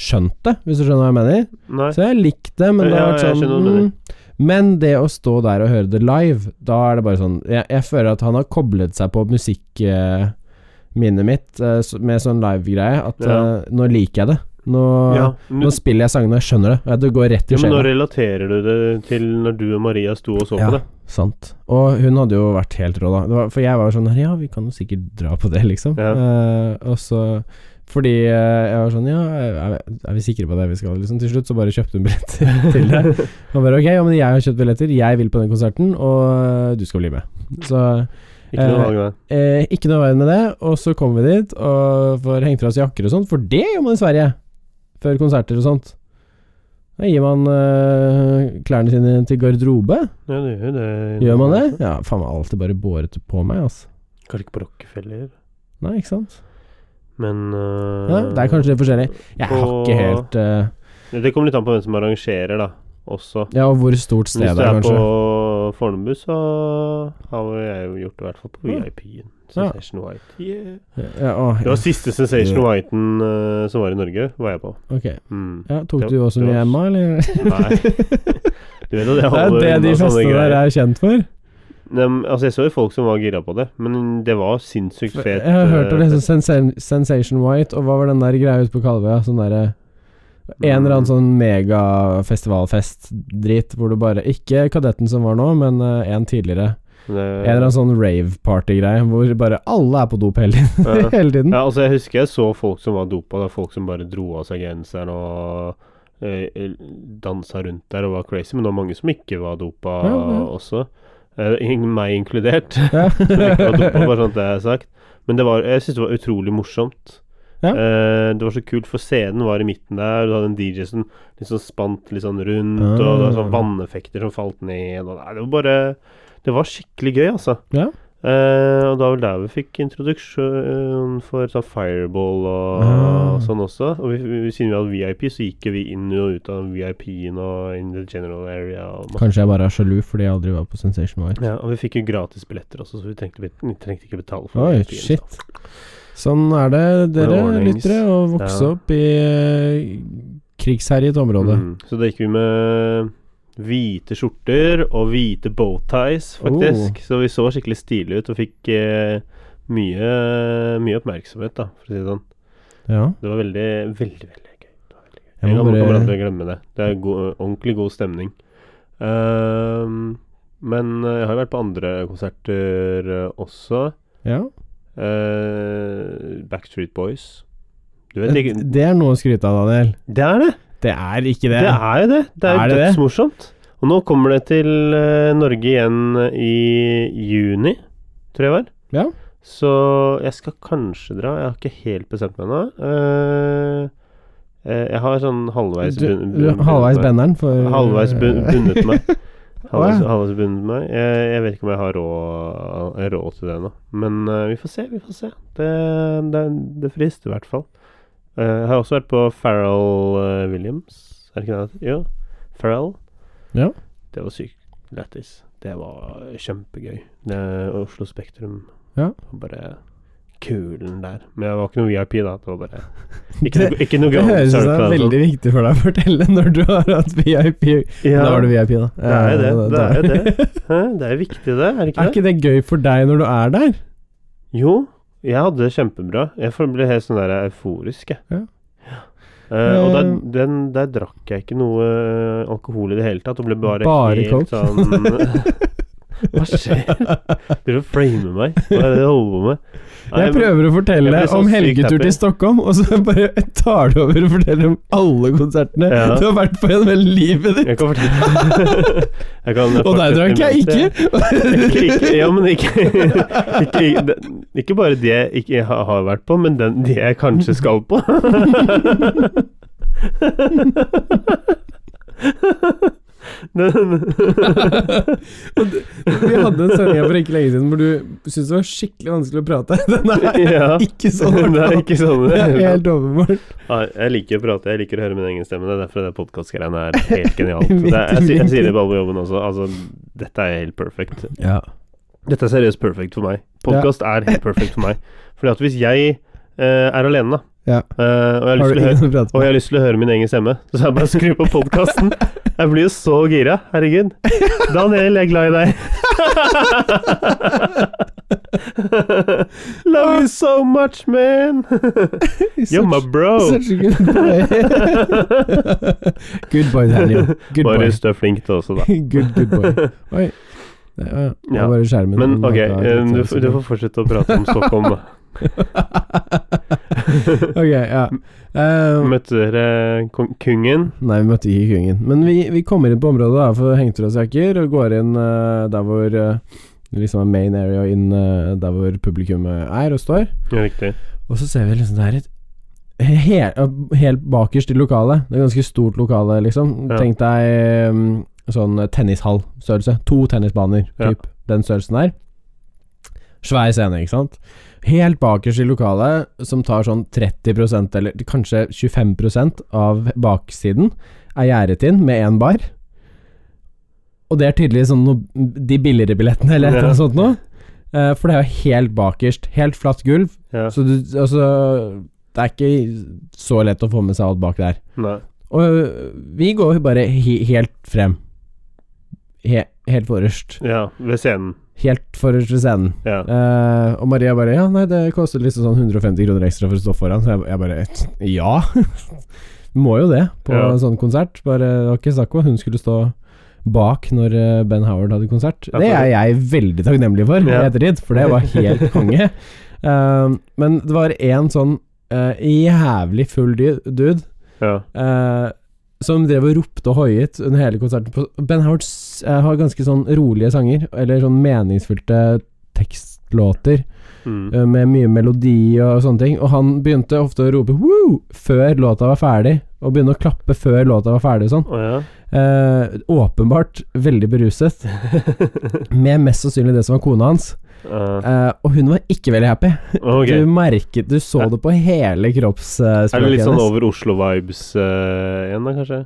Speaker 1: skjønt det, hvis du skjønner hva jeg mener.
Speaker 2: Nei.
Speaker 1: Så jeg har likt det, men det har
Speaker 2: Ja,
Speaker 1: vært
Speaker 2: jeg
Speaker 1: sånn
Speaker 2: skjønner hva du mener.
Speaker 1: mm, Men det å stå der og høre det live, da er det bare sånn Jeg, jeg føler at han har koblet seg på musikkminnet mitt eh, s- med sånn live-greie, at
Speaker 2: Ja.
Speaker 1: eh, nå liker jeg det. Nå,
Speaker 2: Ja.
Speaker 1: nå spiller jeg sangene, og jeg skjønner det. Ja, det går rett
Speaker 2: Ja,
Speaker 1: i
Speaker 2: men nå
Speaker 1: sjela.
Speaker 2: relaterer du det til når du og Maria sto og så på
Speaker 1: Ja,
Speaker 2: det.
Speaker 1: sant. Og hun hadde jo vært helt rå, da. Det var, for jeg var jo sånn Ja, vi kan jo sikkert dra på det, liksom.
Speaker 2: Ja.
Speaker 1: Eh, og så fordi eh, jeg var sånn Ja, er, er vi sikre på det vi skal? Liksom. Til slutt så bare kjøpte hun billetter til det. Og bare ok, ja, men jeg har kjøpt billetter, jeg vil på den konserten, og eh, du skal bli med. Så
Speaker 2: Ikke noe
Speaker 1: Eh,
Speaker 2: valg der.
Speaker 1: eh, ikke noe veien med det, og så kommer vi dit og får hengt fra oss jakker og sånt, for det gjør man i Sverige. Før konserter og sånt. Da gir man eh, klærne sine til garderobe.
Speaker 2: Ja, det gjør jo det.
Speaker 1: Gjør man det? Ja, faen meg alltid bare båret på meg, altså.
Speaker 2: Kanskje ikke på Rockefeller,
Speaker 1: Nei, ikke sant?
Speaker 2: men øh,
Speaker 1: Ja, det er kanskje litt forskjellig. Jeg har ikke helt eh,
Speaker 2: Det kommer litt an på hvem som arrangerer, da, også.
Speaker 1: Ja, og hvor stort
Speaker 2: Hvis
Speaker 1: stedet
Speaker 2: du
Speaker 1: er,
Speaker 2: er på
Speaker 1: kanskje.
Speaker 2: Fornebu så har jeg jo gjort det, i hvert fall på
Speaker 1: Ja.
Speaker 2: VIP-en. Sensation White. Yeah.
Speaker 1: Ja, å,
Speaker 2: Det
Speaker 1: ja.
Speaker 2: var siste Sensation Whiten eh, som var i Norge, var jeg på.
Speaker 1: Ok.
Speaker 2: Mm.
Speaker 1: Ja, tok
Speaker 2: Det-
Speaker 1: du også
Speaker 2: det
Speaker 1: mye
Speaker 2: var-
Speaker 1: Emma, eller?
Speaker 2: Nei. Du vet jo det
Speaker 1: Det er
Speaker 2: holder
Speaker 1: det de
Speaker 2: unna sånne
Speaker 1: festene der
Speaker 2: greier.
Speaker 1: er kjent for.
Speaker 2: Nei, men, altså, jeg så jo folk som var gira på det, men det var sinnssykt fet
Speaker 1: Jeg har hørt om
Speaker 2: eh,
Speaker 1: liksom sensa- Sensation White, og hva var den der greia ute på Kalvøya? Sånn derre En eller annen sånn megafestivalfest-drit hvor du bare Ikke kadetten som var nå, men eh, en tidligere. En eller annen sånn rave-party-greie hvor bare alle er på dop hele tiden.
Speaker 2: Ja.
Speaker 1: hele tiden.
Speaker 2: Ja, altså jeg husker jeg så folk som var dopa. Det var folk som bare dro av seg genseren og eh, dansa rundt der og var crazy. Men det var mange som ikke var dopa
Speaker 1: Ja, ja.
Speaker 2: også. Eh, in- meg inkludert.
Speaker 1: Ja.
Speaker 2: som ikke var dopa, bare sånn at det er sagt. Men det var, jeg syntes det var utrolig morsomt.
Speaker 1: Ja.
Speaker 2: Eh, det var så kult, for scenen var i midten der. Du hadde en DJ som liksom spant litt sånn rundt, og det var sånn
Speaker 1: Ah.
Speaker 2: vanneffekter som falt ned. Og, nei, det var bare Det var skikkelig gøy, altså.
Speaker 1: Ja.
Speaker 2: Eh, og da var vel der vi fikk introduksjon for sånn fireball og
Speaker 1: Ah.
Speaker 2: sånn også. Og vi, vi, siden vi hadde VIP, så gikk jo vi inn og ut av VIP-en og in the general area. Og, masse-
Speaker 1: Kanskje jeg bare er sjalu fordi jeg aldri var på Sensation White.
Speaker 2: ja, og vi fikk jo gratis billetter også, så vi trengte, bet- vi trengte ikke betale for
Speaker 1: Oi,
Speaker 2: VIP-en.
Speaker 1: shit. Sånn er det, dere
Speaker 2: altså. Ordnings.
Speaker 1: lyttere, å vokse
Speaker 2: Ja.
Speaker 1: opp i eh, krigsherjet område.
Speaker 2: Mm. Så da gikk vi med hvite skjorter og hvite bowties, faktisk.
Speaker 1: Oh.
Speaker 2: Så vi så skikkelig stilige ut og fikk eh, mye, mye oppmerksomhet, da, for å si det sånn.
Speaker 1: Ja.
Speaker 2: Det var veldig, veldig, veldig gøy. Det var veldig gøy.
Speaker 1: Jeg
Speaker 2: Jeg
Speaker 1: må
Speaker 2: kan-
Speaker 1: bare-
Speaker 2: kommer aldri til å glemme det. Det er god, ordentlig god stemning. Ehm, men jeg har jo vært på andre konserter eh, også.
Speaker 1: ja.
Speaker 2: Eh, Backstreet Boys. Du vet ikke
Speaker 1: Det er noe å skryte av, Daniel.
Speaker 2: Det er det!
Speaker 1: Det er ikke det.
Speaker 2: Det er jo det. Det er,
Speaker 1: Er
Speaker 2: jo
Speaker 1: det det?
Speaker 2: dødsmorsomt. Og nå kommer det til eh, Norge igjen i juni, tror jeg var.
Speaker 1: Ja.
Speaker 2: Så jeg skal kanskje dra. Jeg har ikke helt bestemt meg ennå. Eh, eh, jeg har sånn halvveis
Speaker 1: Du-
Speaker 2: bun-
Speaker 1: du-
Speaker 2: bun-
Speaker 1: halvveis
Speaker 2: bundet meg.
Speaker 1: benderen for
Speaker 2: Halvveis bun- bundet meg. Halvveis,
Speaker 1: Eh. Å, ja.
Speaker 2: halvveis bundet meg. Jeg, jeg vet ikke om jeg har råd, eh, råd til det nå. Men eh, vi får se, vi får se. Det, det, det frister i hvert fall. Eh, jeg har også vært på Farrell eh, Williams. Er det ikke det han heter? Jo. Farrell.
Speaker 1: Ja.
Speaker 2: Det var sykt lættis. Det var kjempegøy. Det, Oslo Spektrum.
Speaker 1: Ja.
Speaker 2: Og Bare kulen der. Men jeg var ikke noe VIP, da. Det var bare Ikke noe, ikke noe
Speaker 1: Det høres ut som det
Speaker 2: Grand Circle,
Speaker 1: er
Speaker 2: altså.
Speaker 1: veldig viktig for deg å fortelle når du har hatt VIP.
Speaker 2: Ja.
Speaker 1: Da var du VIP, da.
Speaker 2: Det er jo
Speaker 1: Ja,
Speaker 2: det, det er jo
Speaker 1: det.
Speaker 2: Hæ? Det er viktig, det. Er det ikke
Speaker 1: Er
Speaker 2: det?
Speaker 1: ikke det gøy for deg når du er der?
Speaker 2: Jo, jeg hadde det kjempebra. Jeg får- ble helt sånn der euforisk, jeg.
Speaker 1: Ja.
Speaker 2: Eh, og der,
Speaker 1: Eh.
Speaker 2: den, der drakk jeg ikke noe eh, alkohol i det hele tatt. Og ble bare,
Speaker 1: Bare
Speaker 2: helt
Speaker 1: coke.
Speaker 2: sånn Hva skjer? Du framer meg. Hva er det du holder på med? Nei,
Speaker 1: Jeg
Speaker 2: men-
Speaker 1: prøver å fortelle
Speaker 2: jeg blir så
Speaker 1: om
Speaker 2: sykt
Speaker 1: helgetur
Speaker 2: happy.
Speaker 1: til Stockholm, og så bare tar du over og forteller om alle konsertene
Speaker 2: Ja.
Speaker 1: du har vært på gjennom hele livet ditt.
Speaker 2: Jeg kan fortelle jeg kan
Speaker 1: Og der
Speaker 2: fortsette
Speaker 1: drakk jeg
Speaker 2: med det. ikke, ikke, ja, men ikke, ikke, ikke, ikke bare det jeg ikke jeg har har vært på, men den, det jeg kanskje skal på. Den,
Speaker 1: Vi hadde en sending her for ikke lenge siden hvor du syntes det var skikkelig vanskelig å prate. Den er
Speaker 2: ja.
Speaker 1: ikke sånn.
Speaker 2: det er ikke sånn.
Speaker 1: Det er helt overmålt.
Speaker 2: Nei, jeg liker å prate, jeg liker å høre min egen stemme. Det er derfor det podkast-greiene er helt genialt. Det er, jeg, sier- jeg sier det bare på jobben også. Altså, dette er helt perfekt.
Speaker 1: Ja.
Speaker 2: Dette er seriøst perfekt for meg. Podkast er helt perfekt for meg. Fordi at hvis jeg eh, er alene, da,
Speaker 1: Ja.
Speaker 2: eh, og, jeg har
Speaker 1: Har du
Speaker 2: lyst til å høre,
Speaker 1: ingen å prate
Speaker 2: og jeg
Speaker 1: med?
Speaker 2: har lyst til å høre min egen stemme, så er det bare å skru på podkasten. Jeg blir jo så gira. Herregud. Daniel, jeg er glad i deg. Love you so much, man. You're my bro.
Speaker 1: Such a good boy. good boy, Daniel. Good boy.
Speaker 2: Marius, du er flink til også, da.
Speaker 1: good, good boy. Oi. Det var det var
Speaker 2: Ja.
Speaker 1: bare skjermen.
Speaker 2: Men ok,
Speaker 1: Den hadde-
Speaker 2: eh, du, f- du får fortsette å prate om Stockholm. da.
Speaker 1: ok, ja. Eh,
Speaker 2: Møtte dere eh, kong- kongen?
Speaker 1: nei, vi møtte ikke kongen. Men vi, vi kommer inn på området da, for hengtrådsjakker, og går inn eh, der hvor eh, det liksom er main area, inn eh, der hvor publikummet er og står.
Speaker 2: Ja, riktig.
Speaker 1: Og så ser vi liksom det er et Helt, helt bakerst i lokalet. Det er ganske stort lokale, liksom.
Speaker 2: Ja.
Speaker 1: Tenk deg mm, sånn tennishallstørrelse. To tennisbaner,
Speaker 2: Ja.
Speaker 1: typ. Den størrelsen der. Svær scene, ikke sant. Helt bakerst i lokalet, som tar sånn 30 eller kanskje 25 av baksiden, er gjerdet inn med én bar. Og det er tydelig sånn noe, de billigere billettene eller et eller annet sånt noe. Eh, for det er jo helt bakerst. Helt flatt gulv.
Speaker 2: Ja.
Speaker 1: Så du Altså, det er ikke så lett å få med seg alt bak der.
Speaker 2: Nei.
Speaker 1: Og øh, vi går jo bare he helt frem. He helt forrest.
Speaker 2: Ja, ved scenen.
Speaker 1: Helt forrest ved scenen.
Speaker 2: Ja.
Speaker 1: Eh, og Maria bare Ja, nei, det koster liksom sånn 150 kroner ekstra for å stå foran. Så jeg, jeg bare Ja! Må jo det på
Speaker 2: Ja.
Speaker 1: en sånn konsert. Bare det var ikke snakk om at hun skulle stå bak når eh, Ben Howard hadde konsert.
Speaker 2: Ja,
Speaker 1: Det
Speaker 2: for-
Speaker 1: er jeg veldig takknemlig for i
Speaker 2: Ja.
Speaker 1: ettertid, for det var helt konge. Eh, men det var én sånn eh, jævlig full dy- dude
Speaker 2: ja.
Speaker 1: eh, som drev og ropte og hoiet under hele konserten. På, ben Howard s- eh, har ganske sånn rolige sanger, eller sånn meningsfylte tekstlåter
Speaker 2: Mm.
Speaker 1: eh, med mye melodi og sånne ting. Og han begynte ofte å rope Woo! før låta var ferdig, og begynne å klappe før låta var ferdig og sånn.
Speaker 2: Å ja.
Speaker 1: Eh, åpenbart veldig beruset, med mest sannsynlig det som var kona hans.
Speaker 2: Eh,
Speaker 1: Eh, og hun var ikke veldig happy.
Speaker 2: ok.
Speaker 1: Du merket Du så det på hele kroppsspråket
Speaker 2: Er det litt sånn over Oslo-vibes eh, igjen, da, kanskje?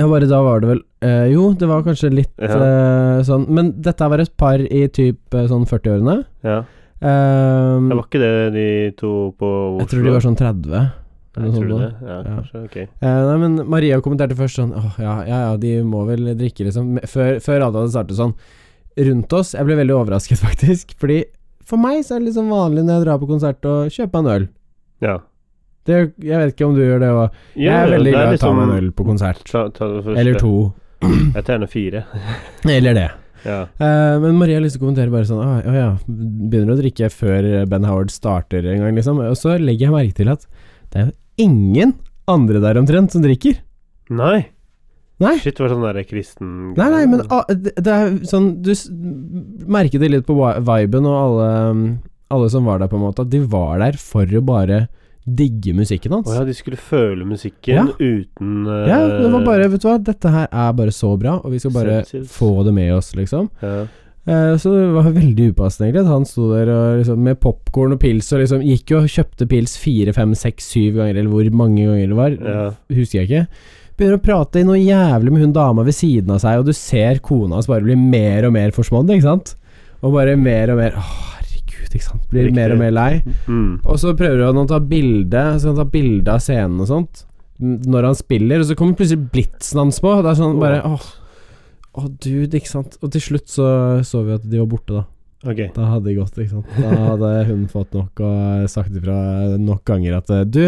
Speaker 1: Ja, bare da var det vel eh, Jo, det var kanskje litt eh, sånn Men dette var et par i typ eh, sånn 40-årene.
Speaker 2: Ja.
Speaker 1: Ehm,
Speaker 2: Det var ikke det de to på Oslo
Speaker 1: jeg tror de var sånn 30. eller noe
Speaker 2: Nei, tror du
Speaker 1: sånt nå.
Speaker 2: det? Ja,
Speaker 1: Ja.
Speaker 2: kanskje. Ok.
Speaker 1: Eh, nei, men Maria kommenterte først sånn Åh, ja, ja, ja, de må vel drikke, liksom. Men Før, før alle hadde startet sånn. Rundt oss Jeg ble veldig overrasket, faktisk. Fordi for meg så er det liksom vanlig når jeg drar på konsert å kjøpe meg en øl.
Speaker 2: Ja.
Speaker 1: Det, jeg vet ikke om du gjør det òg. Jeg
Speaker 2: Ja,
Speaker 1: er veldig
Speaker 2: det
Speaker 1: glad i å ta
Speaker 2: liksom-
Speaker 1: meg en øl på konsert.
Speaker 2: Ta, ta det første.
Speaker 1: Eller to.
Speaker 2: Jeg tar gjerne fire.
Speaker 1: Eller det.
Speaker 2: Ja.
Speaker 1: Eh, men Maria har lyst til å kommentere bare sånn Å ja, begynner å drikke før Ben Howard starter en gang, liksom. Og så legger jeg merke til at det er jo ingen andre der omtrent som drikker.
Speaker 2: Nei.
Speaker 1: Nei.
Speaker 2: Shit, det var sånn derre kristen
Speaker 1: Nei, nei, men ah, det det er sånn Du s- merket det litt på wa- viben og alle, mm, alle som var der, på en måte, at de var der for å bare digge musikken hans.
Speaker 2: Å ja, de skulle føle musikken
Speaker 1: Ja.
Speaker 2: uten eh,
Speaker 1: Ja, det var bare Vet du hva, dette her er bare så bra, og vi skal bare
Speaker 2: Selvtillit.
Speaker 1: få det med oss, liksom.
Speaker 2: ja.
Speaker 1: Eh, Så det var veldig upassende, egentlig. at Han sto der og liksom, med popkorn og pils og liksom gikk jo og kjøpte pils fire, fem, seks, syv ganger, eller hvor mange ganger det var.
Speaker 2: Ja.
Speaker 1: Husker jeg ikke. Begynner å prate noe jævlig med hun dama ved siden av seg, og du ser kona hans bare bli mer og mer forsmådd, ikke sant? Og bare mer og mer Å, herregud, ikke sant. Blir
Speaker 2: Riktig.
Speaker 1: mer og mer lei.
Speaker 2: Mm.
Speaker 1: Og så prøver han å ta bilde, så han tar bilde av scenen og sånt m, når han spiller, og så kommer plutselig blitsen hans på. og Det er sånn bare åh, åh, dude, ikke sant. Og til slutt så så vi at de var borte, da.
Speaker 2: Ok.
Speaker 1: Da hadde de gått, ikke sant. Da hadde hun fått nok og sagt ifra nok ganger at eh, du,